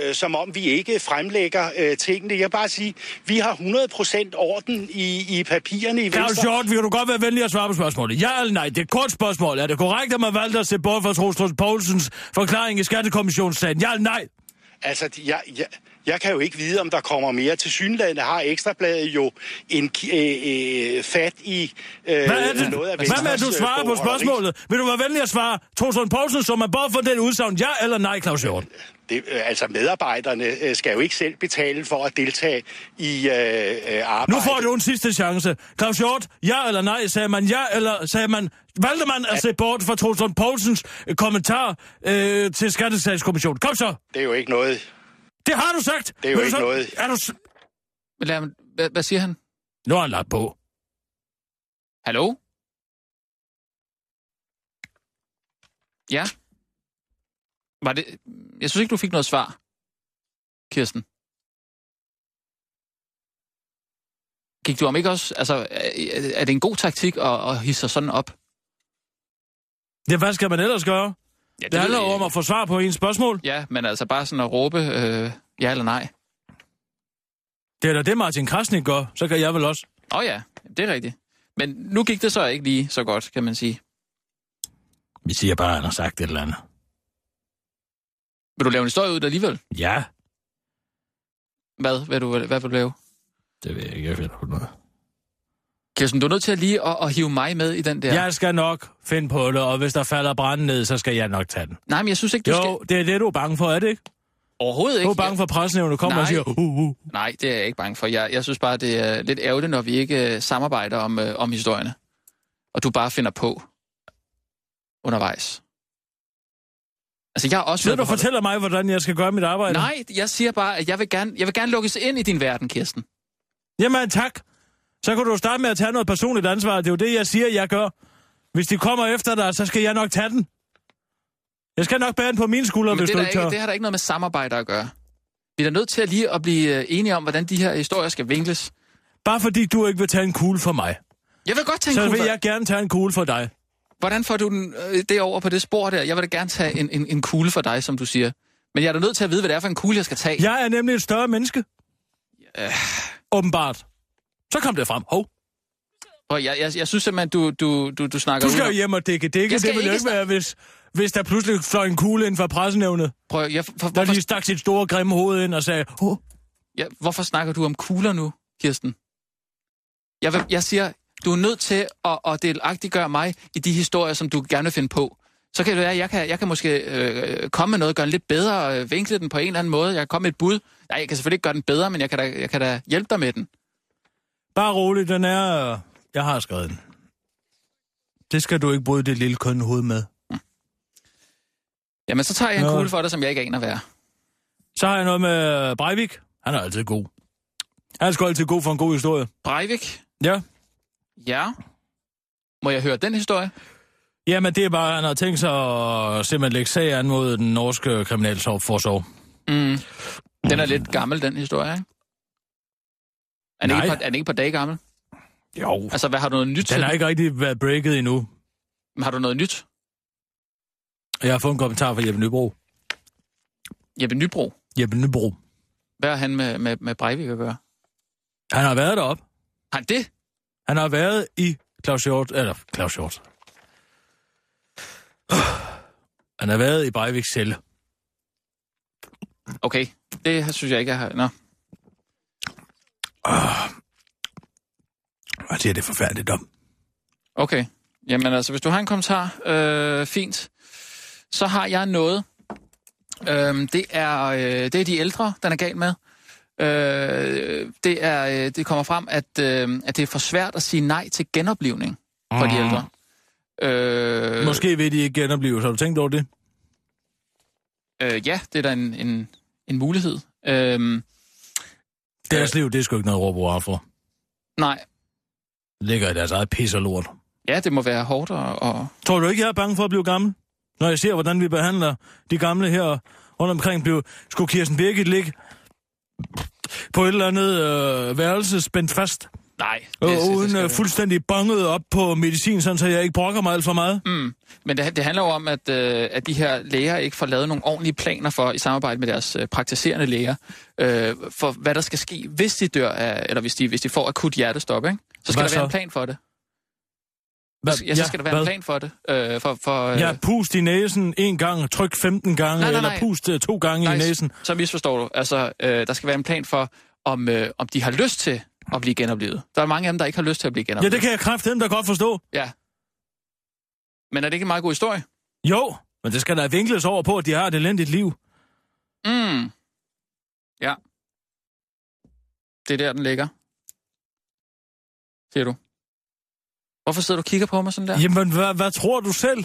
Speaker 8: øh, som om vi ikke fremlægger øh, tingene. Jeg vil bare sige, vi har 100% orden i, i papirerne i
Speaker 5: Claus
Speaker 8: Venstre.
Speaker 5: Hjort, vil du godt være venlig at svare på spørgsmålet? Ja eller nej? Det er et kort spørgsmål. Er det korrekt, at man valgte at se bort fra Troslund Poulsens forklaring i Skattekommissionssagen? Ja eller nej?
Speaker 8: Altså, de- jeg, jeg, jeg kan jo ikke vide, om der kommer mere. Til synlandet har Ekstrabladet jo en ki- øh, øh, fat i øh,
Speaker 5: Hvad er det?
Speaker 8: noget af
Speaker 5: Hvad med, at du
Speaker 8: Venstres, øh,
Speaker 5: svarer på
Speaker 8: bogholderi.
Speaker 5: spørgsmålet? Vil du være venlig at svare Troslund Poulsen, som er bare for den udsagn? Ja eller nej, Claus Hjort?
Speaker 8: Det, øh, altså, medarbejderne øh, skal jo ikke selv betale for at deltage i øh, øh, arbejdet.
Speaker 5: Nu får du en sidste chance. Claus Hjort, ja eller nej, sagde man ja, eller sagde man... Valgte man at se bort fra Troelsen Poulsens øh, kommentar øh, til Skattesagskommissionen? Kom så!
Speaker 8: Det er jo ikke noget.
Speaker 5: Det har du sagt!
Speaker 8: Det er
Speaker 5: Vil
Speaker 8: jo
Speaker 5: du
Speaker 8: ikke
Speaker 5: så-
Speaker 8: noget.
Speaker 5: Er du... s-
Speaker 4: Men lad, ham- hvad, hvad siger han?
Speaker 5: Nu har han lagt på.
Speaker 4: Hallo? Ja? Var det... Jeg synes ikke, du fik noget svar, Kirsten. Gik du om ikke også... Altså, er, er det en god taktik at, at hisse sig sådan op?
Speaker 5: Ja, hvad skal man ellers gøre?
Speaker 4: Ja,
Speaker 5: Det handler jo om at få svar på ens spørgsmål.
Speaker 4: Ja, men altså bare sådan at råbe øh, ja eller nej.
Speaker 5: Det er da det, Martin Krasnik gør. Så kan jeg vel også.
Speaker 4: Åh oh, ja, det er rigtigt. Men nu gik det så ikke lige så godt, kan man sige.
Speaker 5: Vi siger bare, at han har sagt et eller andet.
Speaker 4: Vil du lave en historie ud af det alligevel?
Speaker 5: Ja,
Speaker 4: Hvad vil du, hvad vil du lave?
Speaker 5: det ved jeg ikke. Jeg finder på noget.
Speaker 4: Kirsten, du er nødt til at lige at, at hive mig med i den der.
Speaker 5: Ja. Jeg skal nok finde på det, og hvis der falder branden ned, så skal jeg nok tage den.
Speaker 4: Nej, men jeg synes ikke, du
Speaker 5: Jo,
Speaker 4: skal...
Speaker 5: det er det, du er bange for, er det ikke?
Speaker 4: Overhovedet ikke.
Speaker 5: Du er bange for, at pressenævnet kommer og
Speaker 4: Nej.
Speaker 5: siger, uh, uh.
Speaker 4: Jeg... Nej, det er jeg ikke bange for. Jeg, jeg synes bare, det er lidt ærgerligt, når vi ikke øh, samarbejder om, øh, om historierne. Og du bare finder på undervejs. Altså, jeg har også...
Speaker 5: Sidder
Speaker 4: været
Speaker 5: du og
Speaker 4: på holdet.
Speaker 5: fortæller mig, hvordan jeg skal gøre mit arbejde?
Speaker 4: Nej, jeg siger bare, at jeg vil gerne, jeg vil gerne lukkes ind i din verden, Kirsten.
Speaker 5: Jamen tak. Så kan du starte med at tage noget personligt ansvar. Det er jo det, jeg siger, jeg gør. Hvis de kommer efter dig, så skal jeg nok tage den. Jeg skal nok bære den på mine skuldre,
Speaker 4: Men
Speaker 5: hvis
Speaker 4: det,
Speaker 5: du
Speaker 4: der
Speaker 5: ikke
Speaker 4: ikke,
Speaker 5: tør.
Speaker 4: det har der ikke noget med samarbejde at gøre. Vi er da nødt til at lige at blive øh, enige om, hvordan de her historier skal vinkles.
Speaker 5: Bare fordi du ikke vil tage en kugle for mig,
Speaker 4: Jeg vil godt tage en
Speaker 5: så
Speaker 4: kugle.
Speaker 5: vil jeg gerne tage en kugle for dig.
Speaker 4: Hvordan får du den, øh, det over på det spor der? Jeg vil da gerne tage en, en, en kugle for dig, som du siger. Men jeg er da nødt til at vide, hvad det er for en kugle, jeg skal tage.
Speaker 5: Jeg er nemlig et større menneske. Åbenbart. Så kom det frem. Hov.
Speaker 4: Og jeg, jeg, jeg synes simpelthen, du, du, du, du snakker
Speaker 5: Du skal jo
Speaker 4: udenom.
Speaker 5: hjem og dække dække.
Speaker 4: Jeg skal
Speaker 5: Det ville jo
Speaker 4: ikke
Speaker 5: ikke være, hvis, hvis der pludselig fløj en kugle ind fra pressenævnet,
Speaker 4: Prøv, jeg, for,
Speaker 5: der
Speaker 4: hvorfor,
Speaker 5: lige stak sit store grimme hoved ind og sagde, oh,
Speaker 4: ja, hvorfor snakker du om kugler nu, Kirsten? Jeg, vil, jeg siger, du er nødt til at, at delagtiggøre mig i de historier, som du gerne vil finde på. Så kan det være, at jeg kan, jeg kan måske øh, komme med noget, gøre den lidt bedre, øh, vinkle den på en eller anden måde. Jeg kan komme med et bud. Nej, jeg kan selvfølgelig ikke gøre den bedre, men jeg kan da, jeg kan da hjælpe dig med den.
Speaker 5: Bare rolig, den er... øh, Jeg har skrevet den. Det skal du ikke bryde det lille kønne hoved med.
Speaker 4: Jamen, så tager jeg en
Speaker 5: Nå.
Speaker 4: kugle for dig, som jeg ikke aner, hvad er.
Speaker 5: Så har jeg noget med øh, Breivik. Han er altid god. Han er sgu altid god for en god historie.
Speaker 4: Breivik?
Speaker 5: Ja.
Speaker 4: Ja. Må jeg høre den historie?
Speaker 5: Jamen, det er bare, at han har tænkt sig at simpelthen lægge sag an mod den norske kriminalforsorg.
Speaker 4: Mm. Den er lidt gammel, den historie, ikke? Er den,
Speaker 5: Nej.
Speaker 4: ikke et par, er den ikke et par dage gammel?
Speaker 5: Jo.
Speaker 4: Altså, hvad har du noget nyt til?
Speaker 5: Den har ikke rigtig været breaket endnu.
Speaker 4: den? Har du noget nyt?
Speaker 5: Jeg har fået en kommentar fra Jeppe Nybro.
Speaker 4: Jeppe Nybro.
Speaker 5: Jeppe Nybro.
Speaker 4: Hvad har han med, med, med Breivik at gøre?
Speaker 5: Han har været derop.
Speaker 4: Har han det?
Speaker 5: Han har været i Claus Hjort, eller Claus Hjort. Han har været i Breiviks celle.
Speaker 4: Okay, det synes jeg ikke, jeg har... Nå.
Speaker 5: Ah. Og han siger, det er forfærdeligt om.
Speaker 4: Okay. Jamen altså, hvis du har en kommentar, øh, fint. Så har jeg noget. Øh, det, er, øh, det er de ældre, den er galt med. Øh, det, er, øh, det kommer frem, at, øh, at det er for svært at sige nej til genoplivning for de ældre. Øh,
Speaker 5: Mm. Måske vil de ikke genopleve, så har du tænkt over det?
Speaker 4: Øh, ja, det er da en, en, en mulighed. Øh,
Speaker 5: Deres liv, det er sgu ikke noget råb hurra for.
Speaker 4: nej,
Speaker 5: Ligger i deres eget pis og lort.
Speaker 4: ja, det må være hårdt og... og
Speaker 5: Tror du ikke, jeg er bange for at blive gammel? Når jeg ser, hvordan vi behandler de gamle her rundt omkring, blev, skulle Kirsten Birgit ligge på et eller andet øh, værelse spændt fast,
Speaker 4: nej.
Speaker 5: og
Speaker 4: det- det- det
Speaker 5: uden
Speaker 4: skal
Speaker 5: øh,
Speaker 4: det-
Speaker 5: fuldstændig bonget op på medicin, sådan, så jeg ikke brokker mig alt for meget.
Speaker 4: Mm. Men det, det handler jo om, at, øh, at de her læger ikke får lavet nogle ordentlige planer for, i samarbejde med deres øh, praktiserende læger, øh, for hvad der skal ske, hvis de dør af, eller hvis de, hvis de får akut hjertestop, ikke? Så skal
Speaker 5: Hvad
Speaker 4: der være
Speaker 5: så?
Speaker 4: en plan for det.
Speaker 5: Hva,
Speaker 4: Ja, så skal der være en plan for det. Øh, for, for, øh,
Speaker 5: Ja, pust i næsen en gang, tryk 15 gange,
Speaker 4: Nej, nej,
Speaker 5: eller
Speaker 4: nej.
Speaker 5: pust øh, to gange i næsen.
Speaker 4: så misforstår du. Altså, øh, der skal være en plan for, om, øh, om de har lyst til at blive genoplevet. Der er mange af dem, der ikke har lyst til at blive
Speaker 5: Ja,
Speaker 4: genoplevet.
Speaker 5: det kan jeg kraftedeme da godt forstå.
Speaker 4: Ja. Men er det ikke en meget god historie?
Speaker 5: Jo, men det skal da vinkles over på, at de har et elendigt liv.
Speaker 4: Mm. Ja. Det er der, den ligger. Siger du. Hvorfor sidder du og kigger på mig sådan der?
Speaker 5: Ja. Jamen, hvad, hvad tror du selv?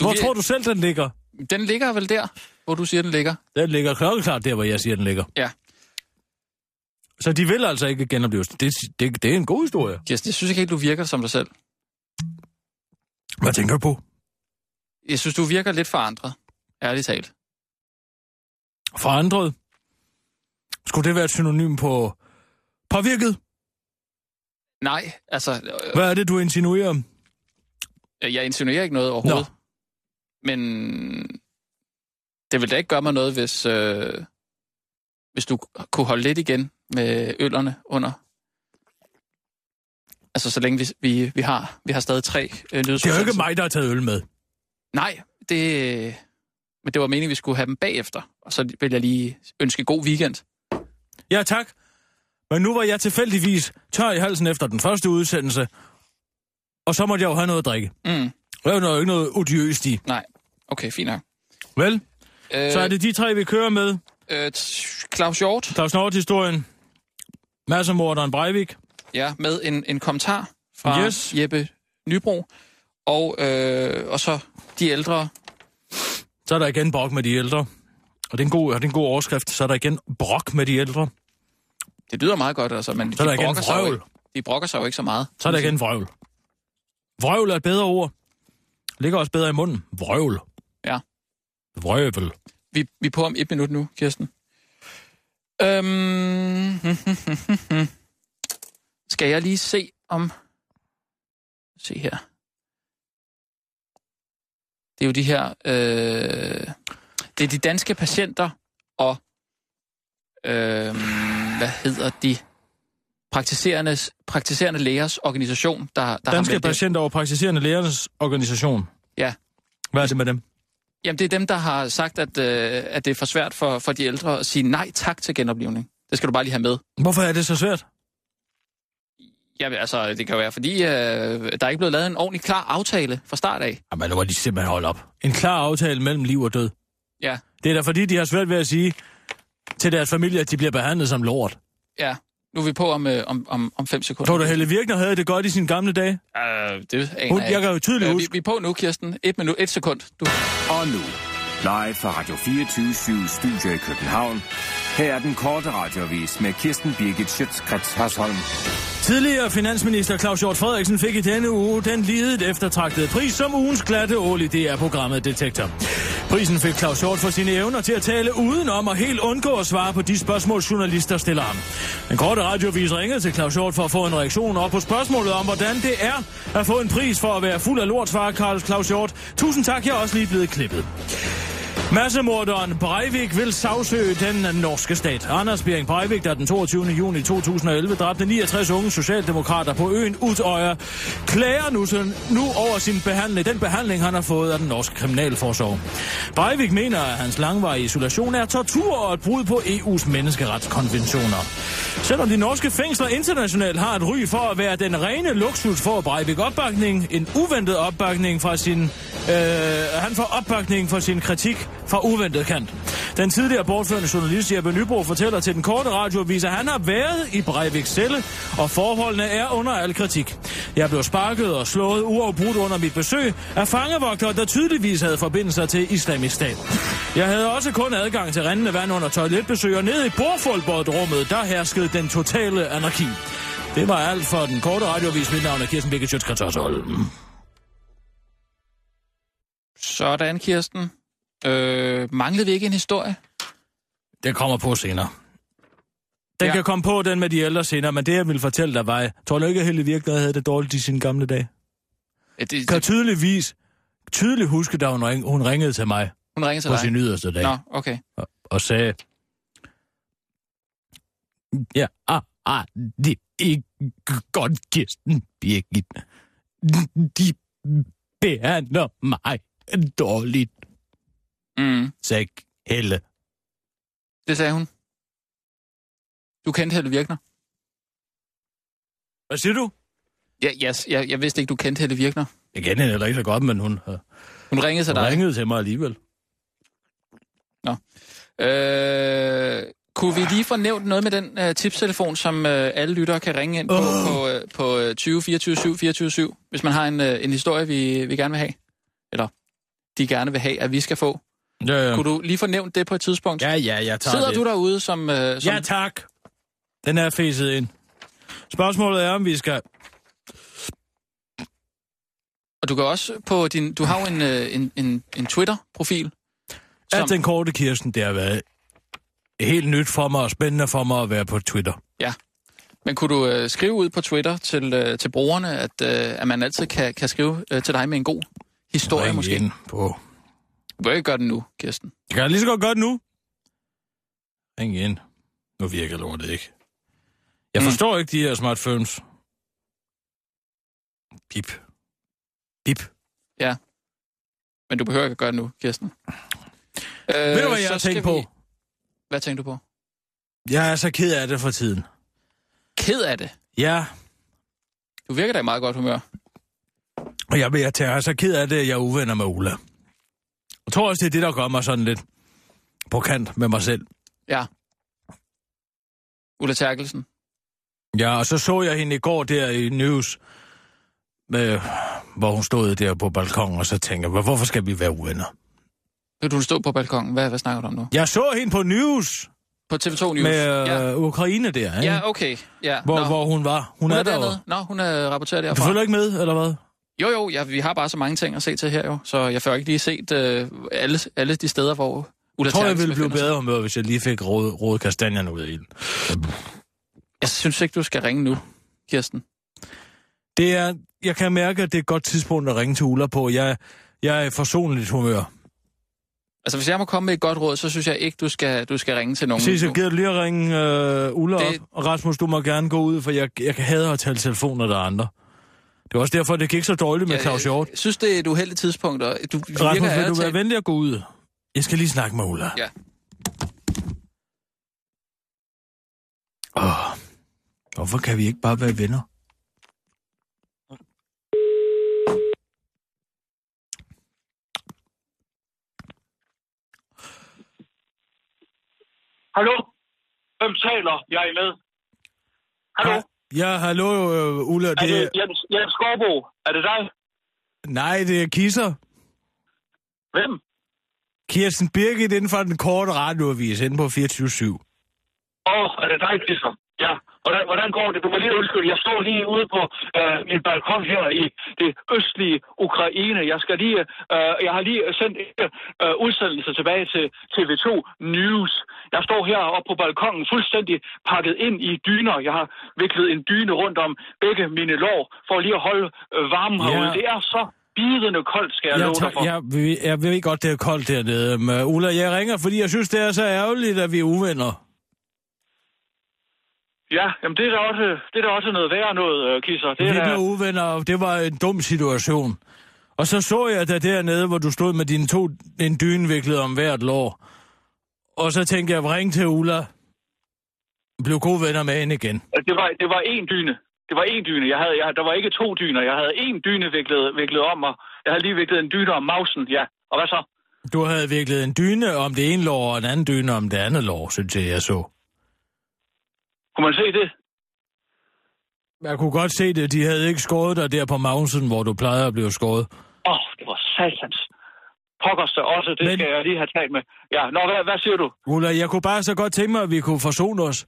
Speaker 4: du,
Speaker 5: Hvor tror du selv, den ligger?
Speaker 4: Den ligger vel der, hvor du siger, den ligger.
Speaker 5: Den ligger klokkeklart der, hvor jeg siger, den ligger.
Speaker 4: Ja.
Speaker 5: Så de vil altså ikke genopleves. Det, det, det er en god historie.
Speaker 4: Yes, jeg synes ikke helt, du virker som dig selv.
Speaker 5: Hvad tænker du på?
Speaker 4: Jeg synes, du virker lidt forandret. Ærligt talt.
Speaker 5: Forandret. Skulle det være et synonym på påvirket?
Speaker 4: Nej, altså, øh,
Speaker 5: Hvad er det, du insinuerer?
Speaker 4: jeg insinuerer ikke noget overhovedet. Nå. Men det ville da ikke gøre mig noget, hvis, øh, hvis du kunne holde lidt igen med øllerne under. Altså, så længe vi, vi, vi, har, vi har stadig tre øh,
Speaker 5: Det er jo
Speaker 4: nyhedsudsendelser.
Speaker 5: ikke mig, der har taget øl med.
Speaker 4: Nej, det, men det var meningen, vi skulle have dem bagefter. Og så vil jeg lige ønske god weekend.
Speaker 5: Ja, tak. Men nu var jeg tilfældigvis tør i halsen efter den første udsendelse, og så måtte jeg jo have noget at drikke.
Speaker 4: Mm,
Speaker 5: Det er jo ikke noget odiøst i.
Speaker 4: nej, okay, fint nok.
Speaker 5: Vel,
Speaker 4: Øh,
Speaker 5: så er det de tre, vi kører med.
Speaker 4: Øh, t- Claus Hjort,
Speaker 5: Claus Nort-historien, Mads og Morderen Breivik,
Speaker 4: ja, med en, en kommentar fra
Speaker 5: Yes.
Speaker 4: yes. Jeppe Nybro. Og, øh, og så de ældre.
Speaker 5: Så er der igen brok med de ældre. Og det er en god, og det er en god overskrift. Så er der igen brok med de ældre.
Speaker 4: Det lyder meget godt, altså, men
Speaker 5: Så er der
Speaker 4: de,
Speaker 5: igen
Speaker 4: brokker sig jo
Speaker 5: vrøvl.
Speaker 4: ikke, de brokker sig jo ikke så meget.
Speaker 5: Så er der igen vrøvl. Vrøvl er et bedre ord. Ligger også bedre i munden. Vrøvl.
Speaker 4: Ja.
Speaker 5: Vrøvl.
Speaker 4: Vi, vi er på om et minut nu, Kirsten. Øhm, skal jeg lige se om... Se her. Det er jo de her... Øh, det er de danske patienter og... Øh, hvad hedder de? Praktiserende, praktiserende lægers organisation, der, der har
Speaker 5: Danske
Speaker 4: meldt det.
Speaker 5: Patienter og Praktiserende Lægernes Organisation.
Speaker 4: Ja.
Speaker 5: Hvad er det med dem?
Speaker 4: Jamen, det er dem, der har sagt, at, øh, at det er for svært for, for de ældre at sige nej tak til genoplivning. Det skal du bare lige have med.
Speaker 5: Hvorfor er det så svært?
Speaker 4: Jamen, altså, det kan jo være, fordi øh, der er ikke blevet lavet en ordentlig klar aftale fra start af.
Speaker 5: Jamen, nu må de simpelthen holde op. En klar aftale mellem liv og død.
Speaker 4: Ja,
Speaker 5: Det er da fordi, de har svært ved at sige til deres familie, at de bliver behandlet som lort.
Speaker 4: ja. Nu er vi på om, øh, om, om, om fem sekunder.
Speaker 5: Tror du, Helle Virkner havde det godt i sine gamle dage?
Speaker 4: Øh, det aner
Speaker 5: Hun,
Speaker 4: jeg
Speaker 5: jeg kan jo
Speaker 4: Øh,
Speaker 5: tydeligt
Speaker 4: vi,
Speaker 5: huske.
Speaker 4: vi er på nu, Kirsten. Et minut, et sekund. Du.
Speaker 6: Og nu, live fra Radio 24 Studio i København. Her er den korte radiovis med Kirsten Birgit Schøtzgrads Hasholm.
Speaker 5: Tidligere finansminister Claus Hjort Frederiksen fik i denne uge den lidet eftertragtede pris som ugens glatte ål i DR-programmet Detektor. Prisen fik Claus Hjort for sine evner til at tale udenom og helt undgå at svare på de spørgsmål, journalister stiller ham. Den korte radiovis ringede til Claus Hjort for at få en reaktion op på spørgsmålet om, hvordan det er at få en pris for at være fuld af lort, svarer Claus Hjort. Tusind tak, jeg er også lige blevet klippet. Massemorderen Breivik vil sagsøge den norske stat. Anders Bering Breivik, der den 22. juni 2011 dræbte 69 unge socialdemokrater på øen Utøya, klager nu, sådan- nu over sin behandling, den behandling, han har fået af den norske kriminalforsorg. Breivik mener, at hans langvarige isolation er tortur og et brud på EU's menneskeretskonventioner. Selvom de norske fængsler internationalt har et ry for at være den rene luksus, får Breivik opbakning, en uventet opbakning fra sin... Øh, han får opbakning for sin kritik fra uventet kant. Den tidligere bortførende journalist Jeppe Nybro fortæller til den korte radioavis, at han har været i Breiviks celle, og forholdene er under al kritik. Jeg blev sparket og slået uafbrudt under mit besøg af fangevogtere, der tydeligvis havde forbindelser til islamisk stat. Jeg havde også kun adgang til rendende vand under toiletbesøg, og nede i bordfodboldrummet, der herskede den totale anarki. Det var alt for den korte radioavis. Mit navn er Kirsten Birgit Sjøtskrets
Speaker 4: Sådan, Kirsten. Øh, manglede vi ikke en historie?
Speaker 5: Den kommer på senere. Den ja.
Speaker 4: Ja.
Speaker 5: kan komme på, den med de ældre senere, men det, jeg ville fortælle dig, var, tror du ikke, at Helle Virkner havde det dårligt i sine gamle dage?
Speaker 4: Ja, det,
Speaker 5: Kan
Speaker 4: det,
Speaker 5: tydeligvis, tydeligt huske, da hun, ring, hun ringede til mig
Speaker 4: hun ringede til
Speaker 5: på
Speaker 4: dig.
Speaker 5: sin yderste dag
Speaker 4: Nå, okay.
Speaker 5: og sagde, ja, ah, ah, det er ikke godt, Kirsten Birgit. De behandler mig dårligt,
Speaker 4: Mm.
Speaker 5: sagde Helle.
Speaker 4: Det sagde hun. Du kendte Helle Virkner?
Speaker 5: Hvad siger du?
Speaker 4: Ja, yes, jeg, jeg vidste ikke, du kendte Helle Virkner.
Speaker 5: Jeg kender hende heller ikke så godt, men hun, øh,
Speaker 4: Hun ringede til
Speaker 5: hun
Speaker 4: dig.
Speaker 5: ringede til mig alligevel.
Speaker 4: Øh, kunne vi lige få nævnt noget med den øh, tipstelefon, som øh, alle lyttere kan ringe ind på oh. på, øh, på øh, 20 24 7 24 7, hvis man har en, øh, en historie, vi, vi gerne vil have? Eller de gerne vil have, at vi skal få.
Speaker 5: Ja, ja.
Speaker 4: Kunne du lige få nævnt det på et tidspunkt?
Speaker 5: Ja, ja, jeg tager
Speaker 4: Sidder
Speaker 5: det.
Speaker 4: du derude som... Øh, som
Speaker 5: Ja, tak. Den er fæset ind. Spørgsmålet er, om vi skal...
Speaker 4: og du kan også på din... Du har jo en, øh, en, en, en Twitter-profil.
Speaker 5: Som...
Speaker 4: Som-
Speaker 5: At den korte Kirsten, det har været helt nyt for mig og spændende for mig at være på Twitter.
Speaker 4: Men kunne du øh, skrive ud på Twitter til, øh, til brugerne, at, øh, at man altid kan, kan skrive øh, til dig med en god historie
Speaker 5: Ring
Speaker 4: måske?
Speaker 5: ind På.
Speaker 4: Du kan ikke gøre det nu, Kirsten.
Speaker 5: Jeg kan lige så godt gøre det nu. Ring ind. Nu virker lortet ikke. Jeg
Speaker 4: Mm.
Speaker 5: forstår ikke de her smartphones. Pip. Pip.
Speaker 4: Øh, Men du behøver ikke at gøre det nu, Kirsten. Øh,
Speaker 5: Øh, Ved du, hvad jeg
Speaker 4: så
Speaker 5: har
Speaker 4: skal
Speaker 5: tænkt på?
Speaker 4: Vi... Hvad tænkte du på?
Speaker 5: Jeg er så ked af det for tiden.
Speaker 4: Ked af det.
Speaker 5: Ja,
Speaker 4: Du virker da i meget godt humør.
Speaker 5: Og jeg, jeg, jeg er så ked af det, at jeg er uvenner med Ulla. Jeg tror også, det er det, der gør mig sådan lidt på kant med mig selv.
Speaker 4: Ja. Ulla Terkelsen.
Speaker 5: Ja, og så så jeg hende i går der i News, med, hvor hun stod der på balkongen, og så tænker jeg, hvorfor skal vi være uvenner?
Speaker 4: Nu du stå på balkongen. Hvad, hvad snakker du om nu?
Speaker 5: Jeg så hende på News,
Speaker 4: På TV2 News.
Speaker 5: med øh,
Speaker 4: ja.
Speaker 5: Ukraine der, ikke?
Speaker 4: ja, okay. Ja.
Speaker 5: hvor,
Speaker 4: Nå.
Speaker 5: hvor hun var.
Speaker 4: hun
Speaker 5: Hun,
Speaker 4: er,
Speaker 5: er der jo.
Speaker 4: dernede. Nå, hun er rapporteret
Speaker 5: Du
Speaker 4: derfra.
Speaker 5: følger ikke med, eller hvad?
Speaker 4: Jo, jo, ja, vi har bare så mange ting at se til her jo, så jeg får ikke lige set øh, alle, alle de steder, hvor Ulla
Speaker 5: Jeg tror, jeg
Speaker 4: Terkelsen
Speaker 5: ville blive
Speaker 4: befinder sig.
Speaker 5: bedre humør, hvis jeg lige fik råd, råd kastanjerne ud af ilden.
Speaker 4: Jeg synes ikke, du skal ringe nu, Kirsten.
Speaker 5: Det er, jeg kan mærke, at det er et godt tidspunkt at ringe til Ulla på. Jeg, jeg er i forsonligt humør.
Speaker 4: Altså, hvis jeg må komme med et godt råd, så synes jeg ikke, du skal, du skal ringe til nogen.
Speaker 5: Præcis,
Speaker 4: nu.
Speaker 5: jeg gider lige at ringe øh, Ulla
Speaker 4: Det-
Speaker 5: det... op. Og Rasmus, du må gerne gå ud, for jeg, jeg hader at tale telefoner, der er andre. Det var også derfor, det gik så dårligt med
Speaker 4: Jeg-
Speaker 5: Claus Hjort.
Speaker 4: Jeg Øh, synes, det er et uheldigt tidspunkt, og du virker
Speaker 5: Rasmus, vil
Speaker 4: ærligt
Speaker 5: du være
Speaker 4: talt-
Speaker 5: venlig at gå ud? Jeg skal lige snakke med Ulla.
Speaker 4: Ja.
Speaker 5: Åh, hvorfor kan vi ikke bare være venner?
Speaker 9: Hallo? Hvem taler jeg med? Hallo? Ja.
Speaker 5: Ja, hallo, øh, Ulla.
Speaker 9: Er det
Speaker 5: Det er...
Speaker 9: Altså, Jens, Jens Skorbo? Er det dig?
Speaker 5: Nej, det er Kisser.
Speaker 9: Hvem?
Speaker 5: Kirsten Birgit inden for den korte radioavis inde på 24
Speaker 9: Åh, oh, er det dig, Christian? Ja. Hvordan, hvordan går det? Du må lige undskylde. Jeg står lige ude på øh, min balkon her i det østlige Ukraine. Jeg skal lige, øh, jeg har lige sendt en øh, udsendelse tilbage til TV2 News. Jeg står her oppe på balkongen fuldstændig pakket ind i dyner. Jeg har viklet en dyne rundt om begge mine lår for lige at holde øh, varmen
Speaker 5: Ja.
Speaker 9: herude. Det er så bidende koldt, skal jeg
Speaker 5: Jeg,
Speaker 9: love dig for.
Speaker 5: tager, jeg, ved- jeg ved godt, det er koldt dernede. Men øh, Ulla, jeg ringer, fordi jeg synes, det er så ærgerligt, at vi er uvenner.
Speaker 9: Ja, jamen det er da også, det er da også noget værre noget, øh, Kisser. Det
Speaker 5: Vi
Speaker 9: er da,
Speaker 5: blev uvenner, og det var en dum situation. Og så så jeg dig dernede, hvor du stod med dine to, en dyne viklet om hvert lår. Og så tænkte jeg, ring til Ulla. Blev gode venner med hende igen.
Speaker 9: Øh, det, var, det var én dyne. Det var én dyne. Jeg havde, jeg, der var ikke to dyner. Jeg havde én dyne viklet, viklet om, og jeg havde lige viklet en dyne om mausen. Ja, og hvad så?
Speaker 5: Du havde viklet en dyne om det ene lår, og en anden dyne om det andet lår, synes jeg, jeg så.
Speaker 9: Kunne man se det?
Speaker 5: Jeg kunne godt se det, de havde ikke skåret dig der på mausen, hvor du plejede at blive skåret.
Speaker 9: Åh, oh, det var satans. Pokkers da også, det
Speaker 5: Men-
Speaker 9: Men... skal jeg lige have talt med. Ja, nå, hvad, hvad siger du?
Speaker 5: Ulla, jeg kunne bare så godt tænke mig, at vi kunne forsone os.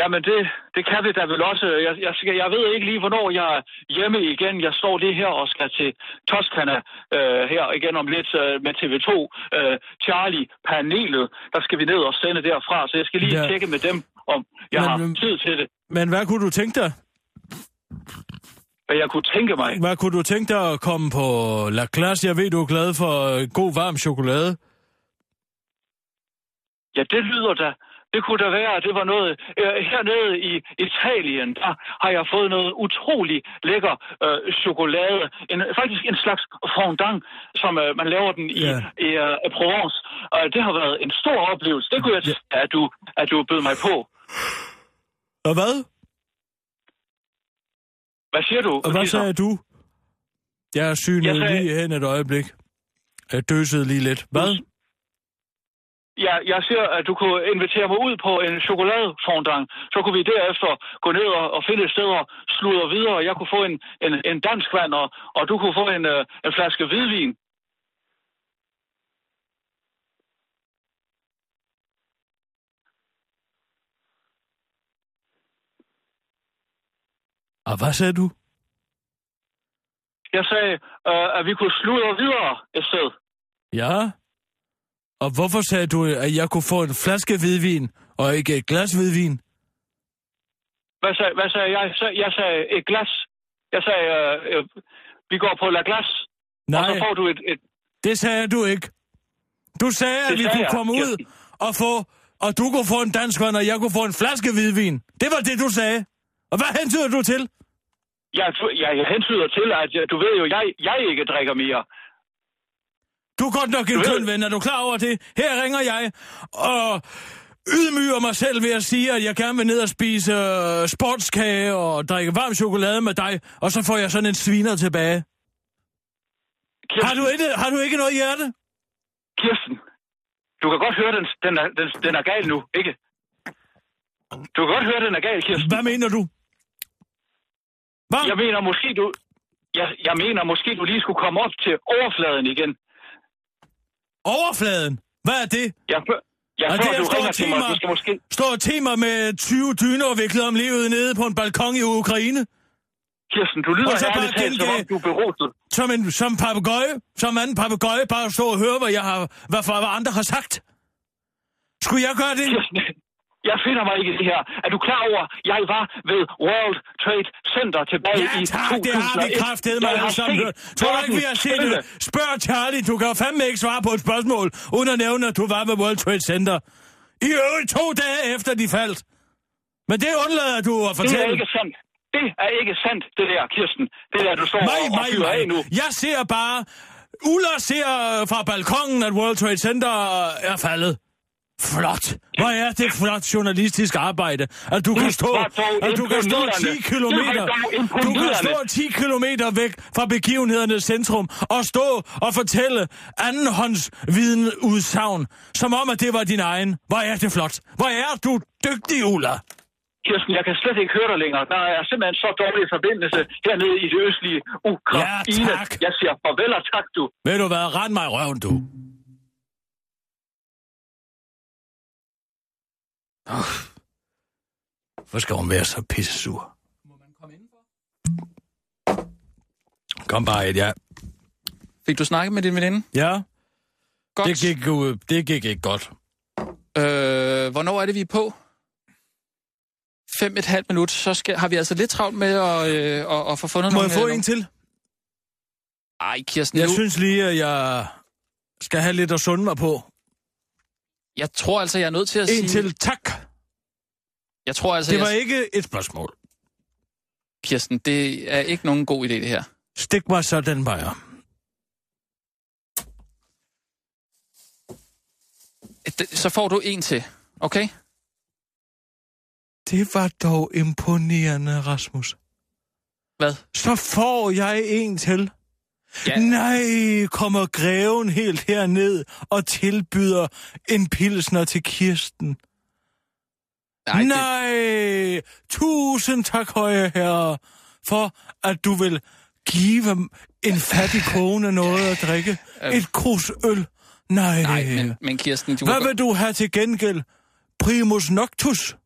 Speaker 9: Jamen, det, det kan vi da vel også. Jeg, jeg, skal, jeg ved ikke lige, hvornår jeg er hjemme igen. Jeg står lige her og skal til Toskana øh, her igen om lidt øh, med TV2. Øh, Charlie-panelet, der skal vi ned og sende derfra. Så jeg skal lige
Speaker 5: Ja.
Speaker 9: ja. tjekke med dem, om jeg
Speaker 5: Men,
Speaker 9: Men, har
Speaker 5: øhm,
Speaker 9: tid til det.
Speaker 5: Men hvad kunne du tænke dig?
Speaker 9: Hvad jeg kunne tænke mig.
Speaker 5: Hvad kunne du tænke dig at komme på La Classe? Jeg ved, du er glad for øh, god varm chokolade.
Speaker 9: Ja, det lyder da. Det kunne da være, at det var noget... Øh, hernede i Italien, der har jeg fået noget utrolig lækker øh, chokolade. En, faktisk en slags fondant, som øh, man laver den i,
Speaker 5: Ja.
Speaker 9: ja. i øh, Provence. Og det har været en stor oplevelse. Det kunne jeg ja. at du, at du bød mig på.
Speaker 5: Og hvad?
Speaker 9: Hvad siger du?
Speaker 5: Og hvad
Speaker 9: Kisser?
Speaker 5: sagde du? Jeg synede
Speaker 9: Jeg sagde-
Speaker 5: lige hen et øjeblik. Jeg døsede lige lidt. Hvad?
Speaker 9: Ja, jeg siger, at du kunne invitere mig ud på en chokoladefondant. Så kunne vi derefter gå ned og, og finde et sted og sludre videre. Jeg kunne få en, en, en dansk vand, og, og du kunne få en, øh, en flaske hvidvin.
Speaker 5: Og hvad sagde du?
Speaker 9: Jeg sagde, øh, at vi kunne sludre videre et sted.
Speaker 5: Ja. Og hvorfor sagde du, at jeg kunne få en flaske hvidvin og ikke et glas hvidvin?
Speaker 9: Hvad sagde, hvad sagde jeg? Så- Jeg sagde et glas. Jeg sagde, øh, øh, vi går på La Glas, og så
Speaker 5: Nej,
Speaker 9: får du et... et
Speaker 5: det sagde du ikke. Du sagde, at
Speaker 9: Det
Speaker 5: vi
Speaker 9: sagde
Speaker 5: kunne
Speaker 9: jeg.
Speaker 5: komme ud
Speaker 9: Jeg-
Speaker 5: og få... Og du kunne få en dansk vand, og jeg kunne få en flaske hvidvin. Det var det, du sagde. Og hvad hentyder du til?
Speaker 9: jeg, jeg, jeg hentyder til, at jeg, du ved jo, jeg, jeg ikke drikker mere.
Speaker 5: Du er godt nok en
Speaker 9: ved-
Speaker 5: tynd ven, er du klar over det? Her ringer jeg og ydmyger mig selv ved at sige, at jeg gerne vil ned og spise øh, sportskage og drikke varm chokolade med dig, og så får jeg sådan en sviner tilbage.
Speaker 9: Kirsten,
Speaker 5: Har du ikke, har du ikke noget hjerte?
Speaker 9: Kirsten, du kan godt høre, den, den, er, den, den er gal nu, ikke? Du kan godt høre, den er gal, Kirsten.
Speaker 5: Hvad mener du? Hvad?
Speaker 9: Jeg mener måske, du... Jeg, jeg mener måske, du lige skulle komme op til overfladen igen.
Speaker 5: Overfladen? Hvad er det?
Speaker 9: Jeg, før- jeg,
Speaker 5: Og
Speaker 9: før
Speaker 5: det er
Speaker 9: du
Speaker 5: store
Speaker 9: ringer til mig,
Speaker 5: timer.
Speaker 9: du skal måske...
Speaker 5: Står og timer med 20 dyner viklet om livet nede på en balkon i Ukraine?
Speaker 9: Kirsten, du lyder
Speaker 5: Og så bare
Speaker 9: ærligt talt, som om
Speaker 5: gengive-
Speaker 9: du er beruset.
Speaker 5: Som en som papegøje, som anden papegøje bare stå og høre, hvad, jeg har, hvad, for- hvad andre har sagt? Skulle jeg gøre det?
Speaker 9: Kirsten, jeg finder mig ikke i det her. Er du klar over, jeg var ved World Trade Center tilbage
Speaker 5: Ja,
Speaker 9: i
Speaker 5: tak,
Speaker 9: 2001?
Speaker 5: det har vi kraftedet med
Speaker 9: Jeg har
Speaker 5: alle sammen
Speaker 9: set
Speaker 5: hørt. Tror du ikke, vi har set
Speaker 9: verden krølle.
Speaker 5: det? Spørg Charlie, du kan jo fandme ikke svare på et spørgsmål, uden at nævne, at du var ved World Trade Center. I øvrigt to dage efter de faldt. Men det undlader du at
Speaker 9: Det
Speaker 5: fortælle.
Speaker 9: er ikke sandt. Det er ikke sandt, det der, Kirsten. Det der, du står
Speaker 5: Nej,
Speaker 9: og, og
Speaker 5: nej,
Speaker 9: fyrer af nu.
Speaker 5: nej. Jeg ser bare... Ulla ser fra balkongen, at World Trade Center er faldet. Flot. Hvor er det flot journalistisk arbejde, at du kan stå,
Speaker 9: var dog
Speaker 5: at du kan stå 10
Speaker 9: imponerende.
Speaker 5: kilometer,
Speaker 9: Det var dog
Speaker 5: du kan
Speaker 9: imponerende.
Speaker 5: stå 10 kilometer væk fra begivenhedernes centrum og stå og fortælle andenhånds udsagn, som om at det var din egen. Hvor er det flot. Hvor er du dygtig, Ulla.
Speaker 9: Kirsten, jeg kan slet ikke høre dig længere. Der er simpelthen så dårlig forbindelse hernede i det østlige Ukraine.
Speaker 5: Ja, tak.
Speaker 9: Jeg siger farvel og tak, du.
Speaker 5: Ved du hvad? Rend mig i røven, du. Åh, Hvor skal hun være så pissesur? Må man komme indenfor? Kom bare et, ja.
Speaker 4: Fik du snakket med din veninde?
Speaker 5: Ja,
Speaker 4: Godt.
Speaker 5: det gik, jo- det gik ikke godt.
Speaker 4: Øh, hvornår er det, vi er på? Fem et halvt minut, så skal, har vi altså lidt travlt med at, øh, at, at få fundet
Speaker 5: Må
Speaker 4: nogle...
Speaker 5: jeg få
Speaker 4: øh,
Speaker 5: en til?
Speaker 4: Ej, Kirsten,
Speaker 5: Jeg
Speaker 4: nu,
Speaker 5: synes lige, at jeg skal have lidt at sunde mig på.
Speaker 4: jeg tror altså, jeg er nødt til at sige...
Speaker 5: En til tak.
Speaker 4: Jeg tror altså,
Speaker 5: Det var
Speaker 4: jeg,
Speaker 5: ikke et spørgsmål.
Speaker 4: Kirsten, det er ikke nogen god idé, det her.
Speaker 5: Stik mig så den vejer.
Speaker 4: Det- Så får du en til, okay?
Speaker 5: Det var dog imponerende, Rasmus.
Speaker 4: Hvad?
Speaker 5: Så får jeg en til.
Speaker 4: Ja.
Speaker 5: Nej, kommer greven helt herned og tilbyder en pilsner til Kirsten.
Speaker 4: Nej, det,
Speaker 5: Nej, tusind tak, høje herre, for at du vil give en fattig kone noget at drikke. Et krus øl. Nej,
Speaker 4: nej men, men Kirsten, du
Speaker 5: hvad
Speaker 4: kan
Speaker 5: vil du have til gengæld? Primus Noctus?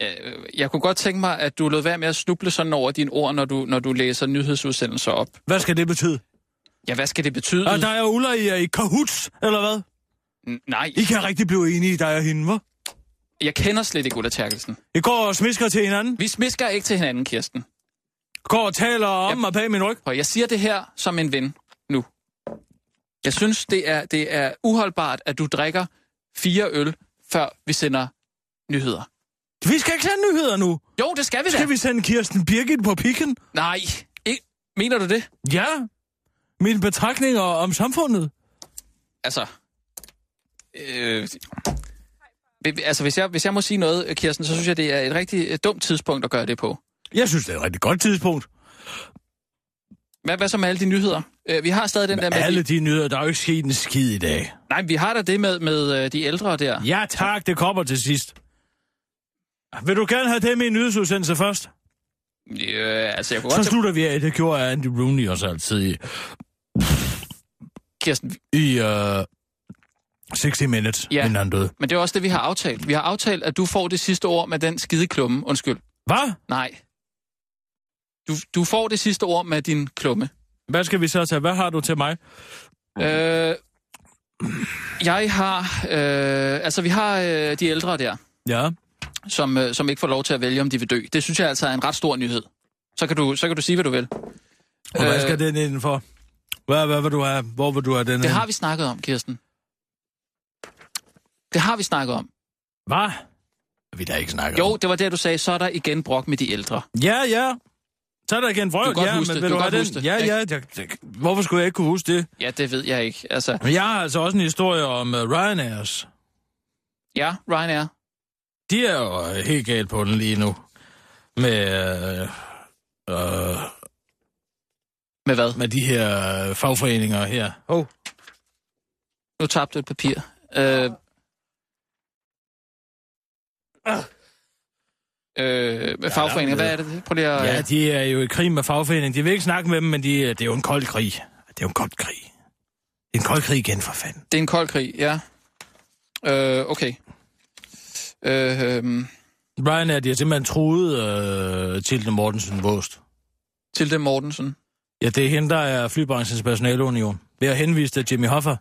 Speaker 4: godt, øh, jeg kunne godt tænke mig, at du lod være med at snuble sådan over dine ord, når du, når du læser nyhedsudsendelser op.
Speaker 5: Hvad skal det betyde?
Speaker 4: Mm. Ja, hvad skal det betyde?
Speaker 5: Og der er uller i jer i kahoots, eller hvad?
Speaker 4: N- Nej,
Speaker 5: I kan rigtig blive enige, dig og hende, hva'?
Speaker 4: jeg kender slet ikke Ulla Terkelsen.
Speaker 5: I går og smisker til hinanden.
Speaker 4: Vi smisker ikke til hinanden, Kirsten.
Speaker 5: Går og taler om
Speaker 4: Ja.
Speaker 5: mig bag min ryg.
Speaker 4: Prøv, jeg siger det her som en ven nu. Jeg synes, det er, det er uholdbart, at du drikker fire øl, før vi sender nyheder.
Speaker 5: Vi skal ikke have nyheder nu.
Speaker 4: Jo, det skal vi da.
Speaker 5: Skal vi sende Kirsten Birgit på pikken?
Speaker 4: Nej, ikke. mener du det?
Speaker 5: Ja. Mine betragtninger om samfundet.
Speaker 4: Altså, øh, vi- altså hvis, jeg, hvis jeg må sige noget, Kirsten, så synes jeg, det er et rigtig øh, dumt tidspunkt at gøre det på.
Speaker 5: Jeg synes, det er et rigtig godt tidspunkt.
Speaker 4: Hvad, hvad så med alle de nyheder? Øh, vi har stadig den der med...
Speaker 5: Alle de nyheder, der er jo ikke sket en skid i dag.
Speaker 4: Nej, vi har da det med, med øh, de ældre der.
Speaker 5: Ja tak, det kommer til sidst. Vil du gerne have dem i en nyhedsudsendelse først?
Speaker 4: Ja, altså, jeg kunne godt tænke...
Speaker 5: Så slutter vi af. Det gjorde Andy Rooney også altid i,
Speaker 4: Kirsten, vi-
Speaker 5: i uh, 60 Minutes,
Speaker 4: Ja.
Speaker 5: ja. inden han døde.
Speaker 4: men det er også det, vi har aftalt. Vi har aftalt, at du får det sidste ord med den skide klumme. Undskyld.
Speaker 5: Hvad?
Speaker 4: Nej. Du, du får det sidste ord med din klumme.
Speaker 5: Hvad skal vi så tage? Hvad har du til mig?
Speaker 4: Øh, jeg har... Øh, altså, vi har øh, de ældre der.
Speaker 5: Ja.
Speaker 4: som, øh, som ikke får lov til at vælge, om de vil dø. Det synes jeg altså er en ret stor nyhed. Så kan du, så kan du sige, hvad du vil.
Speaker 5: Og hvad
Speaker 4: Øh,
Speaker 5: skal den indenfor? Hvad, hvad vil du have? Hvor vil du have den
Speaker 4: Det har vi snakket om, Kirsten. Det har vi snakket om.
Speaker 5: Hvad? Vi da ikke snakke
Speaker 4: Jo, det var der, du sagde, så er der igen brok med de ældre.
Speaker 5: Ja, ja. Så er der igen
Speaker 4: Du
Speaker 5: vrøvl.
Speaker 4: kan godt
Speaker 5: Ja,
Speaker 4: huske det.
Speaker 5: men vil
Speaker 4: Du
Speaker 5: du,
Speaker 4: kan
Speaker 5: have
Speaker 4: godt huske
Speaker 5: den?
Speaker 4: det,
Speaker 5: Ja,
Speaker 4: ikke?
Speaker 5: ja. Jeg, jeg, hvorfor skulle jeg ikke kunne huske det?
Speaker 4: Ja, det ved jeg ikke. Altså,
Speaker 5: Men jeg har altså også en historie om uh, Ryanairs.
Speaker 4: ja, Ryanair.
Speaker 5: De er jo øh, helt galt på den lige nu. Med, øh, øh,
Speaker 4: Med hvad?
Speaker 5: med de her øh, fagforeninger her. Oh.
Speaker 4: Nu tabte du et papir. Øh, øh, med fagforeninger, hvad er det? Prøv lige at...
Speaker 5: Ja, de er jo i krig med fagforeningen. De vil ikke snakke med dem, men de, øh, det er jo en kold krig. Det er jo en kold krig. En kold krig igen, for fanden.
Speaker 4: Det er en kold krig, ja. Øh, okay. Øh, øh,
Speaker 5: Ryanair, de har simpelthen truet øh, Tilde Mortensen Våst.
Speaker 4: Tilde Mortensen.
Speaker 5: Ja, det er hende, der er flybranchens personaleunion. Ved at henvise til Jimmy Hoffa. Det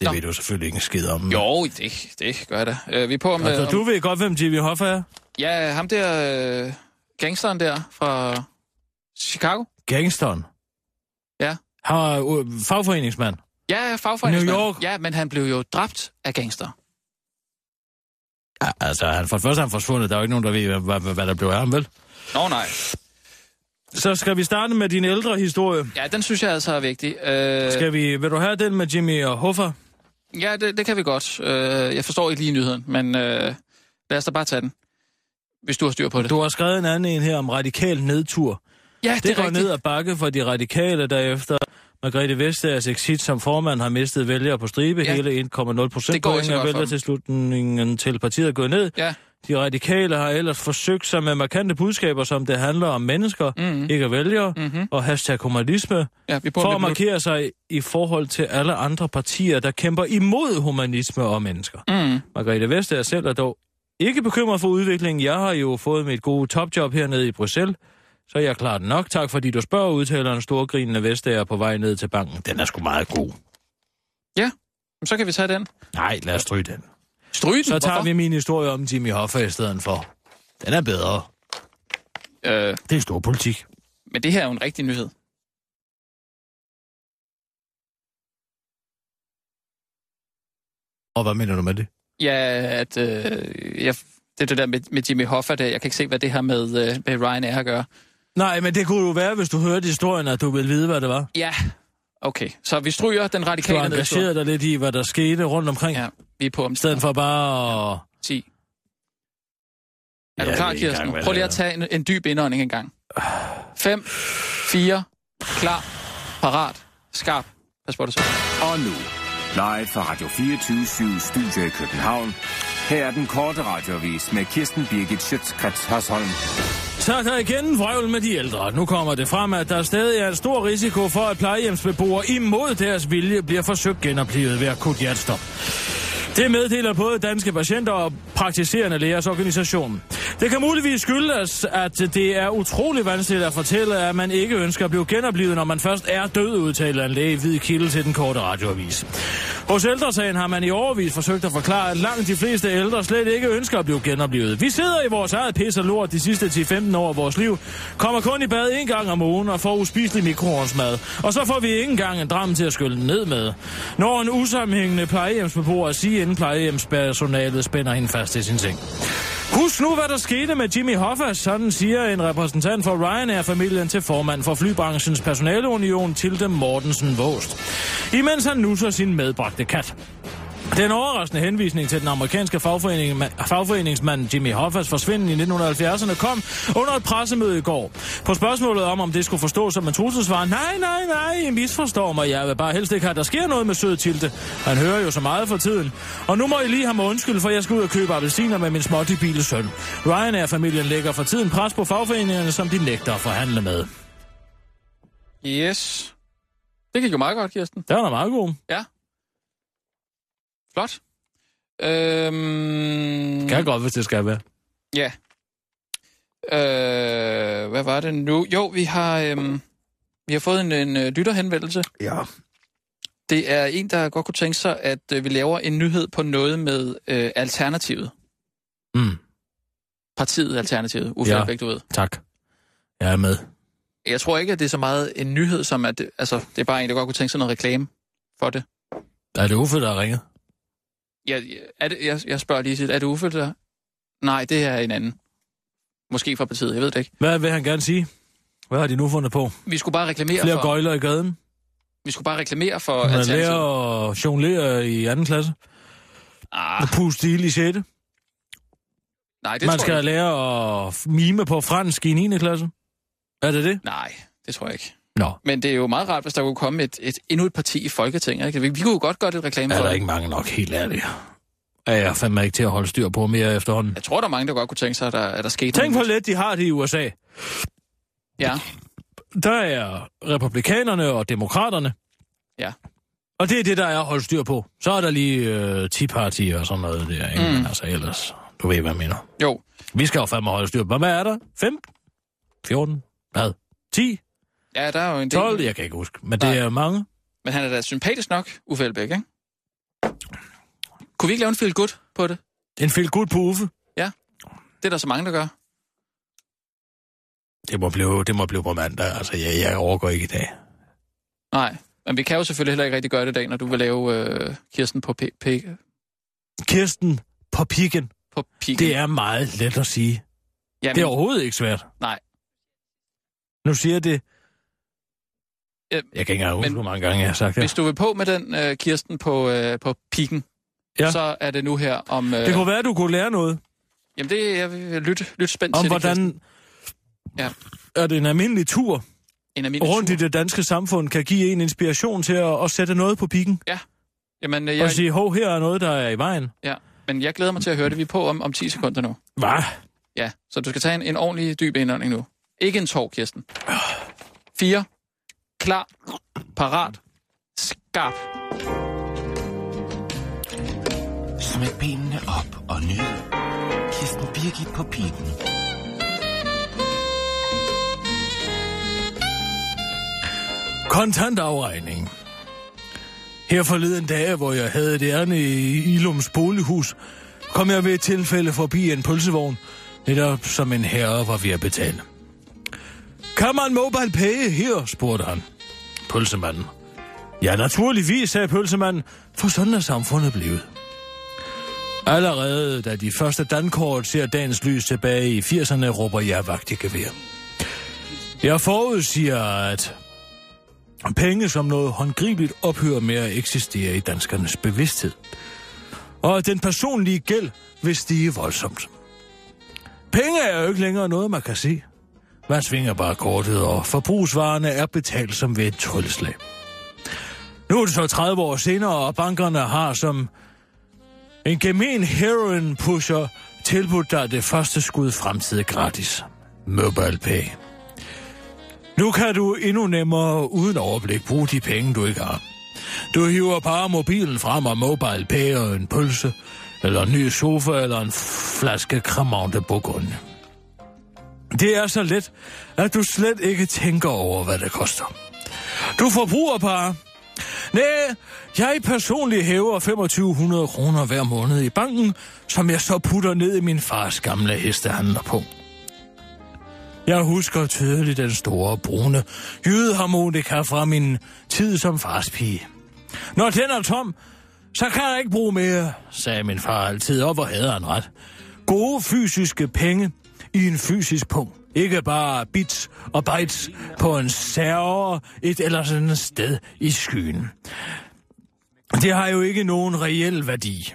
Speaker 4: Nå.
Speaker 5: Nå. ved du selvfølgelig ikke en skid om. men-
Speaker 4: Jo, det, det gør jeg da. Øh, vi er på om...
Speaker 5: Altså,
Speaker 4: øh,
Speaker 5: du
Speaker 4: om
Speaker 5: ved godt, hvem Jimmy Hoffa er.
Speaker 4: ja, ham der... Øh, gangsteren der fra Chicago.
Speaker 5: Gangsteren.
Speaker 4: Ja.
Speaker 5: Han er øh, fagforeningsmand.
Speaker 4: Ja, fagforeningsmand.
Speaker 5: New York.
Speaker 4: Ja, men han blev jo dræbt af gangster.
Speaker 5: Ja, altså, han, for det første er han forsvundet. Der er jo ikke nogen, der ved, hvad, hvad, hvad der blev af ham, vel?
Speaker 4: Nå nej.
Speaker 5: Så skal vi starte med din ældre historie.
Speaker 4: Ja, den synes jeg altså er vigtig. Øh,
Speaker 5: Skal vi, vil du have den med Jimmy og Hoffa?
Speaker 4: Ja, det, det kan vi godt. Øh, jeg forstår ikke lige nyheden, men øh, lad os da bare tage den. Hvis du har styr på det.
Speaker 5: Du har skrevet en anden en her om radikal nedtur.
Speaker 4: ja,
Speaker 5: Det, går ned ad bakke for de radikale, der efter Margrethe Vestagers exit som formand har mistet vælgere på stribe.
Speaker 4: Ja.
Speaker 5: Ja. Hele 1,0
Speaker 4: Det går ikke
Speaker 5: procentpoint
Speaker 4: så godt
Speaker 5: af
Speaker 4: for dem.
Speaker 5: vælgertilslutningen til partiet er gået ned.
Speaker 4: Ja.
Speaker 5: De radikale har ellers forsøgt sig med markante budskaber, som det handler om mennesker,
Speaker 4: Mhm.
Speaker 5: mm-hmm. ikke vælgere,
Speaker 4: Mhm.
Speaker 5: mm-hmm. og hashtag humanisme,
Speaker 4: Ja, vi er på
Speaker 5: for
Speaker 4: om
Speaker 5: at
Speaker 4: et minut.
Speaker 5: markere sig i forhold til alle andre partier, der kæmper imod humanisme og mennesker.
Speaker 4: Mm.
Speaker 5: Margrethe Vestager selv er dog ikke bekymret for udviklingen. Jeg har jo fået mit gode topjob hernede i Bruxelles, så jeg er klart nok. Tak fordi du spørger, udtaler en storgrinende Vestager på vej ned til banken. Den er sgu meget god.
Speaker 4: Jamen, Så kan vi tage den.
Speaker 5: Nej, lad os stryge den.
Speaker 4: Stryg den,
Speaker 5: Så tager
Speaker 4: hvorfor?
Speaker 5: vi min historie om Jimmy Hoffa i stedet for. Den er bedre.
Speaker 4: Øh,
Speaker 5: Det er stor politik.
Speaker 4: men det her er jo en rigtig nyhed.
Speaker 5: Og hvad mener du med det?
Speaker 4: Ja, at øh, jeg, det er det der med, med Jimmy Hoffa der. Jeg kan ikke se, hvad det har med, øh, med Ryanair at gøre.
Speaker 5: Nej, men det kunne jo være, hvis du hørte historien, at du ville vide, hvad det var.
Speaker 4: Ja, okay. Så vi stryger den
Speaker 5: Du
Speaker 4: radikale nedtur.
Speaker 5: engagerede dig lidt i, hvad der skete rundt omkring, ja.
Speaker 4: Ja, vi er på om
Speaker 5: i stedet for bare at...
Speaker 4: 10. Er
Speaker 5: Ja,
Speaker 4: du klar,
Speaker 5: vi er i gang,
Speaker 4: Kirsten?
Speaker 5: hvad
Speaker 4: Prøv
Speaker 5: det
Speaker 4: lige at
Speaker 5: er.
Speaker 4: tage en, en dyb indånding en gang. 5, 4, klar, parat, skarp. Pas på dig så.
Speaker 6: Og nu, live fra Radio 24 Studio i København. Her er den korte radiovis med Kirsten Birgit Schøtzgrads Hasholm.
Speaker 5: Så er der igen vrøvl med de ældre. Nu kommer det frem, at der stadig er en stor risiko for, at plejehjemsbeboere imod deres vilje bliver forsøgt genoplevet ved akut hjertestop. Det meddeler både Danske Patienter og Praktiserende Lægers Organisation. Det kan muligvis skyldes, at det er utrolig vanskeligt at fortælle, at man ikke ønsker at blive genoplevet, når man først er død, udtaler en læge i hvid kilde til den korte radioavis. Hos ældresagen har man i overvis forsøgt at forklare, at langt de fleste ældre slet ikke ønsker at blive genoplevet. Vi sidder i vores eget pis og lort de sidste 10-15 år af vores liv, kommer kun i bad en gang om ugen og får uspiselig mikroovnsmad, og så får vi ikke engang en dram til at skylle ned med. Når en usammenhængende plejehjemsbeboer siger, inden plejehjemspersonalet spænder hende fast i sin seng. Husk nu, hvad der skete med Jimmy Hoffa, sådan siger en repræsentant for Ryanair-familien til formand for flybranchens personaleunion, Tilde Mortensen Våst. Imens han nusser sin medbragte kat. Den overraskende henvisning til den amerikanske fagforening, fagforeningsmand Jimmy Hoffas forsvinden i 1970'erne kom under et pressemøde i går. På spørgsmålet om, om det skulle forstås som en trusselsvar, nej, nej, nej, I misforstår mig, jeg vil bare helst ikke have, at der sker noget med sød Tilde. Han hører jo så meget for tiden. Og nu må I lige have mig undskyld, for jeg skal ud og købe appelsiner med min småtibile søn. Ryanair-familien lægger for tiden pres på fagforeningerne, som de nægter at forhandle med.
Speaker 4: Yes. Det gik jo meget godt, Kirsten.
Speaker 5: Der er da meget god.
Speaker 4: Flot. Øhm,
Speaker 5: Kan jeg godt, hvis det skal være.
Speaker 4: Ja. Øh, hvad var det nu? Jo, vi har, øhm, vi har fået en, en øh, lytterhenvendelse. Ja. Det er en, der godt kunne tænke sig, at øh, vi laver en nyhed på noget med øh, Alternativet.
Speaker 5: Mm,
Speaker 4: Partiet Alternativet, Uffe
Speaker 5: Ja.
Speaker 4: ja. du ved.
Speaker 5: tak. Jeg er med.
Speaker 4: Jeg tror ikke, at det er så meget en nyhed, som at... Altså, det er bare en, der godt kunne tænke sig noget reklame for det.
Speaker 5: Er det Uffe, der har ringet?
Speaker 4: Jeg, er det, jeg, jeg spørger lige sit, er det Uffe, der... Nej, det er en anden. Måske fra partiet, jeg ved det ikke.
Speaker 5: Hvad vil han gerne sige? Hvad har de nu fundet på?
Speaker 4: Vi skulle bare reklamere
Speaker 5: Flere
Speaker 4: for...
Speaker 5: gøjler i gaden?
Speaker 4: Vi skulle bare reklamere for
Speaker 5: Man
Speaker 4: Alternativet.
Speaker 5: lærer at jonglere i anden klasse?
Speaker 4: Ah,
Speaker 5: Og puste ild i 6.
Speaker 4: nej, det
Speaker 5: Man
Speaker 4: tror jeg
Speaker 5: skal
Speaker 4: ikke.
Speaker 5: lære at f- mime på fransk i 9. klasse? Er det det?
Speaker 4: Nej, det tror jeg ikke.
Speaker 5: Nå.
Speaker 4: Men det er jo meget rart, hvis der kunne komme et, et endnu et parti i Folketinget. Ikke? Vi, vi kunne jo godt gøre lidt reklame
Speaker 5: Er
Speaker 4: for
Speaker 5: der
Speaker 4: det.
Speaker 5: ikke mange nok, helt ærligt? Er jeg fandme ikke til at holde styr på mere efterhånden?
Speaker 4: Jeg tror, der er mange, der godt kunne tænke sig, at der, at der skete
Speaker 5: Tænk hvor
Speaker 4: noget.
Speaker 5: let de har det i USA.
Speaker 4: Ja,
Speaker 5: Der er republikanerne og demokraterne.
Speaker 4: Ja.
Speaker 5: Og det er det, der er at holde styr på. Så er der lige øh, Tea Party og sådan noget der, ikke?
Speaker 4: Mm.
Speaker 5: Mm. Altså ellers, du ved, hvad jeg mener.
Speaker 4: jo.
Speaker 5: Vi skal jo fandme holde styr på. Hvad er der? 15? 14? Hvad? 10?
Speaker 4: Ja, der er jo en del.
Speaker 5: 12? Jeg kan ikke huske. Men det
Speaker 4: Nej.
Speaker 5: er mange.
Speaker 4: Men han er da sympatisk nok, Uffe Elbæk, ikke? Kunne vi ikke lave en feel good på det?
Speaker 5: En feel good på Uffe.
Speaker 4: Det er der så mange, der gør.
Speaker 5: Det må blive, det må blive på mandag. Altså, jeg, jeg overgår ikke i dag.
Speaker 4: Nej, men vi kan jo selvfølgelig heller ikke rigtig gøre det i dag, når du vil lave øh, Kirsten på, p- p-
Speaker 5: Kirsten på pikken.
Speaker 4: på piken.
Speaker 5: Det er meget let at sige.
Speaker 4: Jamen,
Speaker 5: Det er overhovedet ikke svært.
Speaker 4: Nej.
Speaker 5: Nu siger jeg det.
Speaker 4: Ja,
Speaker 5: Jeg kan ikke engang huske,
Speaker 4: Øhm, men-
Speaker 5: hvor mange gange jeg har sagt det.
Speaker 4: Hvis du vil på med den øh, Kirsten på, øh, på pikken, ja.
Speaker 5: Ja.
Speaker 4: så er det nu her om... Øh,
Speaker 5: Det kunne være, du kunne lære noget
Speaker 4: Jamen, det jeg vil lytte, lytte spændt
Speaker 5: om,
Speaker 4: til det,
Speaker 5: hvordan
Speaker 4: Ja.
Speaker 5: er det en almindelig tur
Speaker 4: Kirsten. en af mine
Speaker 5: rundt i det danske samfund kan give en inspiration til at, at sætte noget på pikken.
Speaker 4: Jamen, øh,
Speaker 5: Jeg...
Speaker 4: jeg,
Speaker 5: Og sige, hov, her er noget, der er i vejen.
Speaker 4: ja, men jeg glæder mig til at høre det. Vi er på om, om 10 sekunder nu.
Speaker 5: Hvad?
Speaker 4: Ja, så du skal tage en, en ordentlig dyb indånding nu. Ikke en tår, Kirsten. 4. Klar. Parat. Skarp.
Speaker 7: Smæk benene op og nyd. Kirsten Birgit på pikken.
Speaker 5: Kontantafregning. Her forleden dag, hvor jeg havde et ærne i Ilums bolighus, kom jeg ved et tilfælde forbi en pølsevogn, netop som en herre var ved at betale. Kan man mobile pay her, spurgte han. Pølsemanden. Ja, naturligvis, sagde pølsemanden, for sådan er samfundet blevet. Allerede da de første dankort ser dagens lys tilbage i 80'erne, råber jeg vagt i gevær. Jeg forudsiger, at penge som noget håndgribeligt ophører med at eksistere i danskernes bevidsthed. Og at den personlige gæld vil stige voldsomt. Penge er jo ikke længere noget, man kan se. Man svinger bare kortet, og forbrugsvarerne er betalt som ved et trylleslag. Nu er det så 30 år senere, og bankerne har som en gemen heroin pusher tilbudt dig det første skud fremtid gratis. Mobile Pay. Nu kan du endnu nemmere uden overblik bruge de penge, du ikke har. Du hiver bare mobilen frem og mobile pay og en pølse, eller en ny sofa, eller en flaske Cremant de Bourgogne. Det er så let, at du slet ikke tænker over, hvad det koster. Du forbruger bare. Nej, jeg personligt hæver 2500 kroner hver måned i banken, som jeg så putter ned i min fars gamle hestehandler på. Jeg husker tydeligt den store brune jydeharmonika fra min tid som farspige. Når den er tom, så kan jeg ikke bruge mere, sagde min far altid, og hvor havde han ret. Gode fysiske penge i en fysisk punkt. Ikke bare bits og bytes på en server et eller andet sted i skyen. Det har jo ikke nogen reel værdi.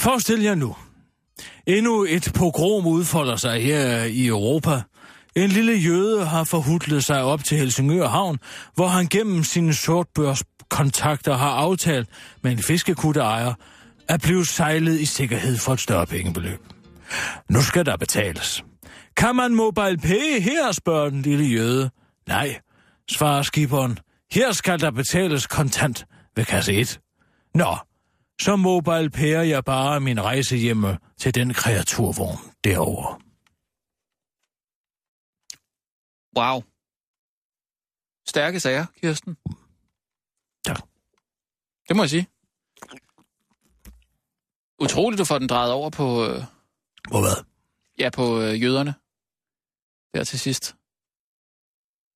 Speaker 5: Forestil jer nu, Endnu et pogrom udfolder sig her i Europa. En lille jøde har forhudlet sig op til Helsingør Havn, hvor han gennem sine sortbørskontakter har aftalt med en fiskekutteejer at blive sejlet i sikkerhed for et større pengebeløb. Nu skal der betales. Kan man mobile pay her, spørger den lille jøde. Nej, svarer skiberen. Her skal der betales kontant ved kasse 1. Nå, så mobile pærer jeg bare min rejse hjemme til den kreaturvogn derovre.
Speaker 4: Wow. Stærke sager, Kirsten.
Speaker 5: Tak.
Speaker 4: Det må jeg sige. Utroligt, du får den drejet over på, øh,
Speaker 5: Hvor hvad?
Speaker 4: ja, på øh, jøderne. Der til sidst.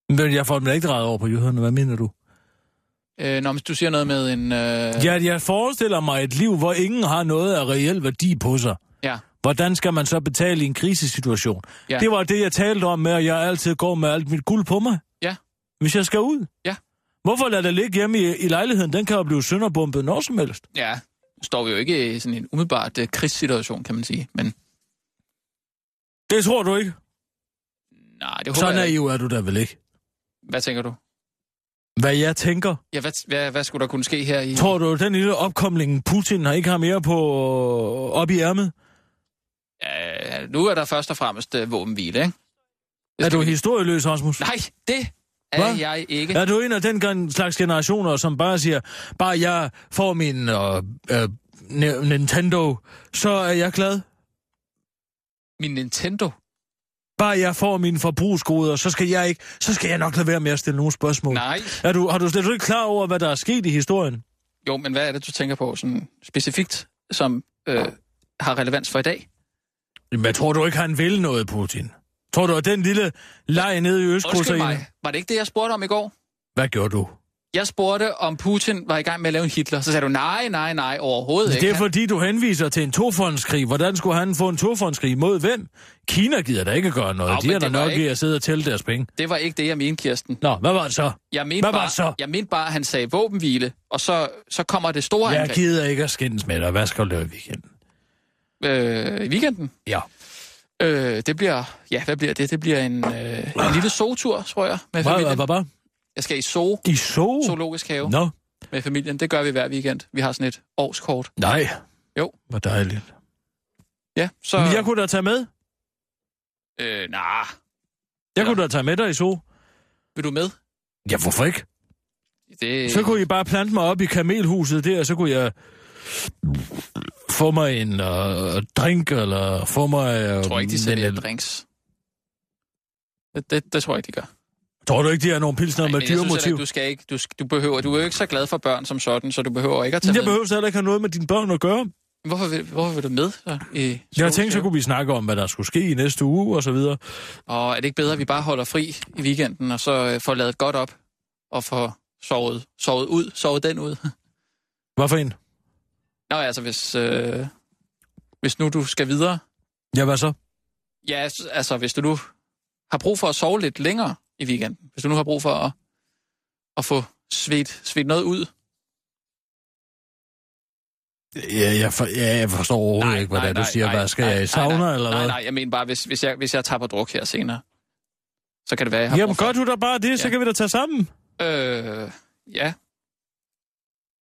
Speaker 5: Men jeg får den ikke drejet over på jøderne, hvad mener du?
Speaker 4: Øh, nå, men du siger noget med en... Øh,
Speaker 5: Ja, jeg forestiller mig et liv, hvor ingen har noget af reel værdi på sig.
Speaker 4: ja.
Speaker 5: Hvordan skal man så betale i en krisesituation?
Speaker 4: Ja.
Speaker 5: Det var det, jeg talte om med, at jeg altid går med alt mit guld på mig.
Speaker 4: Ja.
Speaker 5: Hvis jeg skal ud.
Speaker 4: Ja.
Speaker 5: Hvorfor lader det ligge hjemme i, i lejligheden? Den kan jo blive sønderbumpet når som helst.
Speaker 4: Ja, nu står vi jo ikke i sådan en umiddelbart øh, krigssituation, kan man sige. Men
Speaker 5: Det tror du ikke.
Speaker 4: nej, det håber
Speaker 5: Så
Speaker 4: jeg ikke.
Speaker 5: naiv er du da vel ikke.
Speaker 4: Hvad tænker du?
Speaker 5: Hvad jeg tænker,
Speaker 4: Ja, hvad, hvad, hvad skulle der kunne ske her i...
Speaker 5: Tror du, den lille opkomling, Putin har ikke har mere på øh, op i ærmet?
Speaker 4: Ja, nu er der først og fremmest øh, våbenhvile, ikke? Det
Speaker 5: Er
Speaker 4: skal
Speaker 5: du
Speaker 4: vi-
Speaker 5: historieløs, Rasmus?
Speaker 4: Nej, det er
Speaker 5: Hvad?
Speaker 4: Hva? jeg ikke.
Speaker 5: Er du en af den gen- slags generationer, som bare siger, bare jeg får min øh, øh, Ni- Nintendo, så er jeg glad?
Speaker 4: Min Nintendo.
Speaker 5: Bare jeg får mine forbrugsgoder, så skal jeg ikke, så skal jeg nok lade være med at stille nogle spørgsmål.
Speaker 4: Nej.
Speaker 5: Er du, har du slet ikke klar over, hvad der er sket i historien?
Speaker 4: Jo, men hvad er det, du tænker på sådan specifikt, som øh, har relevans for i dag?
Speaker 5: Jamen, tror du ikke, han vil noget, Putin? Tror du, at den lille leg nede i
Speaker 4: Undskyld
Speaker 5: Østkurserne...
Speaker 4: mig, var det ikke det, jeg spurgte om i går?
Speaker 5: Hvad gjorde du?
Speaker 4: Jeg spurgte, om Putin var i gang med at lave en Hitler. Så sagde du, nej, nej, nej, overhovedet ikke.
Speaker 5: Altså, Det er fordi, du henviser til en tofondskrig. Hvordan skulle han få en tofondskrig mod hvem? Kina gider da ikke gøre noget.
Speaker 4: Nå,
Speaker 5: Oh, de
Speaker 4: men
Speaker 5: er da
Speaker 4: det var
Speaker 5: nok
Speaker 4: ikke-
Speaker 5: i at sidde og tælle deres penge.
Speaker 4: Det var ikke det, jeg mente, Kirsten.
Speaker 5: Nå, hvad var det så?
Speaker 4: Jeg mente,
Speaker 5: Hvad var
Speaker 4: bare,
Speaker 5: det så?
Speaker 4: jeg mente bare, at han sagde våbenhvile, og så, så kommer det store
Speaker 5: Jeg
Speaker 4: angreb
Speaker 5: gider ikke at skændes med dig. Hvad skal du lave i weekenden?
Speaker 4: øh, i weekenden.
Speaker 5: Ja.
Speaker 4: Øh, det bliver, ja, hvad bliver det? Det bliver en, øh, en lille sotur, tror jeg, med
Speaker 5: Hvad, hvad,
Speaker 4: familien.
Speaker 5: hvad, hvad?
Speaker 4: Jeg skal i zoo,
Speaker 5: I så?
Speaker 4: zoologisk have,
Speaker 5: Nå,
Speaker 4: med familien. Det gør vi hver weekend. Vi har sådan et årskort.
Speaker 5: nej.
Speaker 4: Jo.
Speaker 5: Hvor dejligt.
Speaker 4: Ja, så...
Speaker 5: Men jeg kunne da tage med.
Speaker 4: Øh, nah.
Speaker 5: Jeg
Speaker 4: Ja.
Speaker 5: kunne da tage med dig i så.
Speaker 4: Vil du med?
Speaker 5: Ja, hvorfor ikke?
Speaker 4: Det...
Speaker 5: Så kunne I bare plante mig op i kamelhuset der, og så kunne jeg få mig en øh, drink, eller få mig... Øh,
Speaker 4: Jeg tror ikke, de sælger
Speaker 5: en-
Speaker 4: drinks. Det, det, det tror jeg ikke, de gør.
Speaker 5: Tror du ikke, de har nogle pilsner med
Speaker 4: men jeg synes heller
Speaker 5: dyremotiv?
Speaker 4: ikke, du skal ikke, du, sk- du behøver, du er jo ikke så glad for børn som sådan, så du behøver ikke at tage
Speaker 5: Jeg
Speaker 4: med.
Speaker 5: behøver heller ikke have noget med dine børn at gøre.
Speaker 4: Hvorfor vil, hvorfor vil du med? Så, i
Speaker 5: Jeg tænkte, så kunne vi snakke om, hvad der skulle ske i næste uge og så videre.
Speaker 4: Og er det ikke bedre, at vi bare holder fri i weekenden, og så øh, får lavet godt op, og får sovet, sovet ud, sovet den ud?
Speaker 5: Hvad for en?
Speaker 4: Nå, altså hvis... Øh, hvis nu du skal videre.
Speaker 5: Ja, hvad så?
Speaker 4: Ja, s- altså hvis du nu har brug for at sove lidt længere i weekenden, hvis du nu har brug for at, at få svedt, svedt noget ud.
Speaker 5: Ja, jeg, for, ja, jeg forstår overhovedet nej, ikke, hvordan nej, du siger, nej, hvad skal nej, jeg i sauna
Speaker 4: nej, nej,
Speaker 5: eller
Speaker 4: Nej,
Speaker 5: hvad?
Speaker 4: nej, jeg mener bare, hvis, hvis, jeg, hvis jeg tapper druk her senere, så kan det være, jeg har
Speaker 5: Jamen,
Speaker 4: brug for...
Speaker 5: gør du da bare det, så
Speaker 4: Ja.
Speaker 5: kan vi da tage sammen.
Speaker 4: Øh, ja,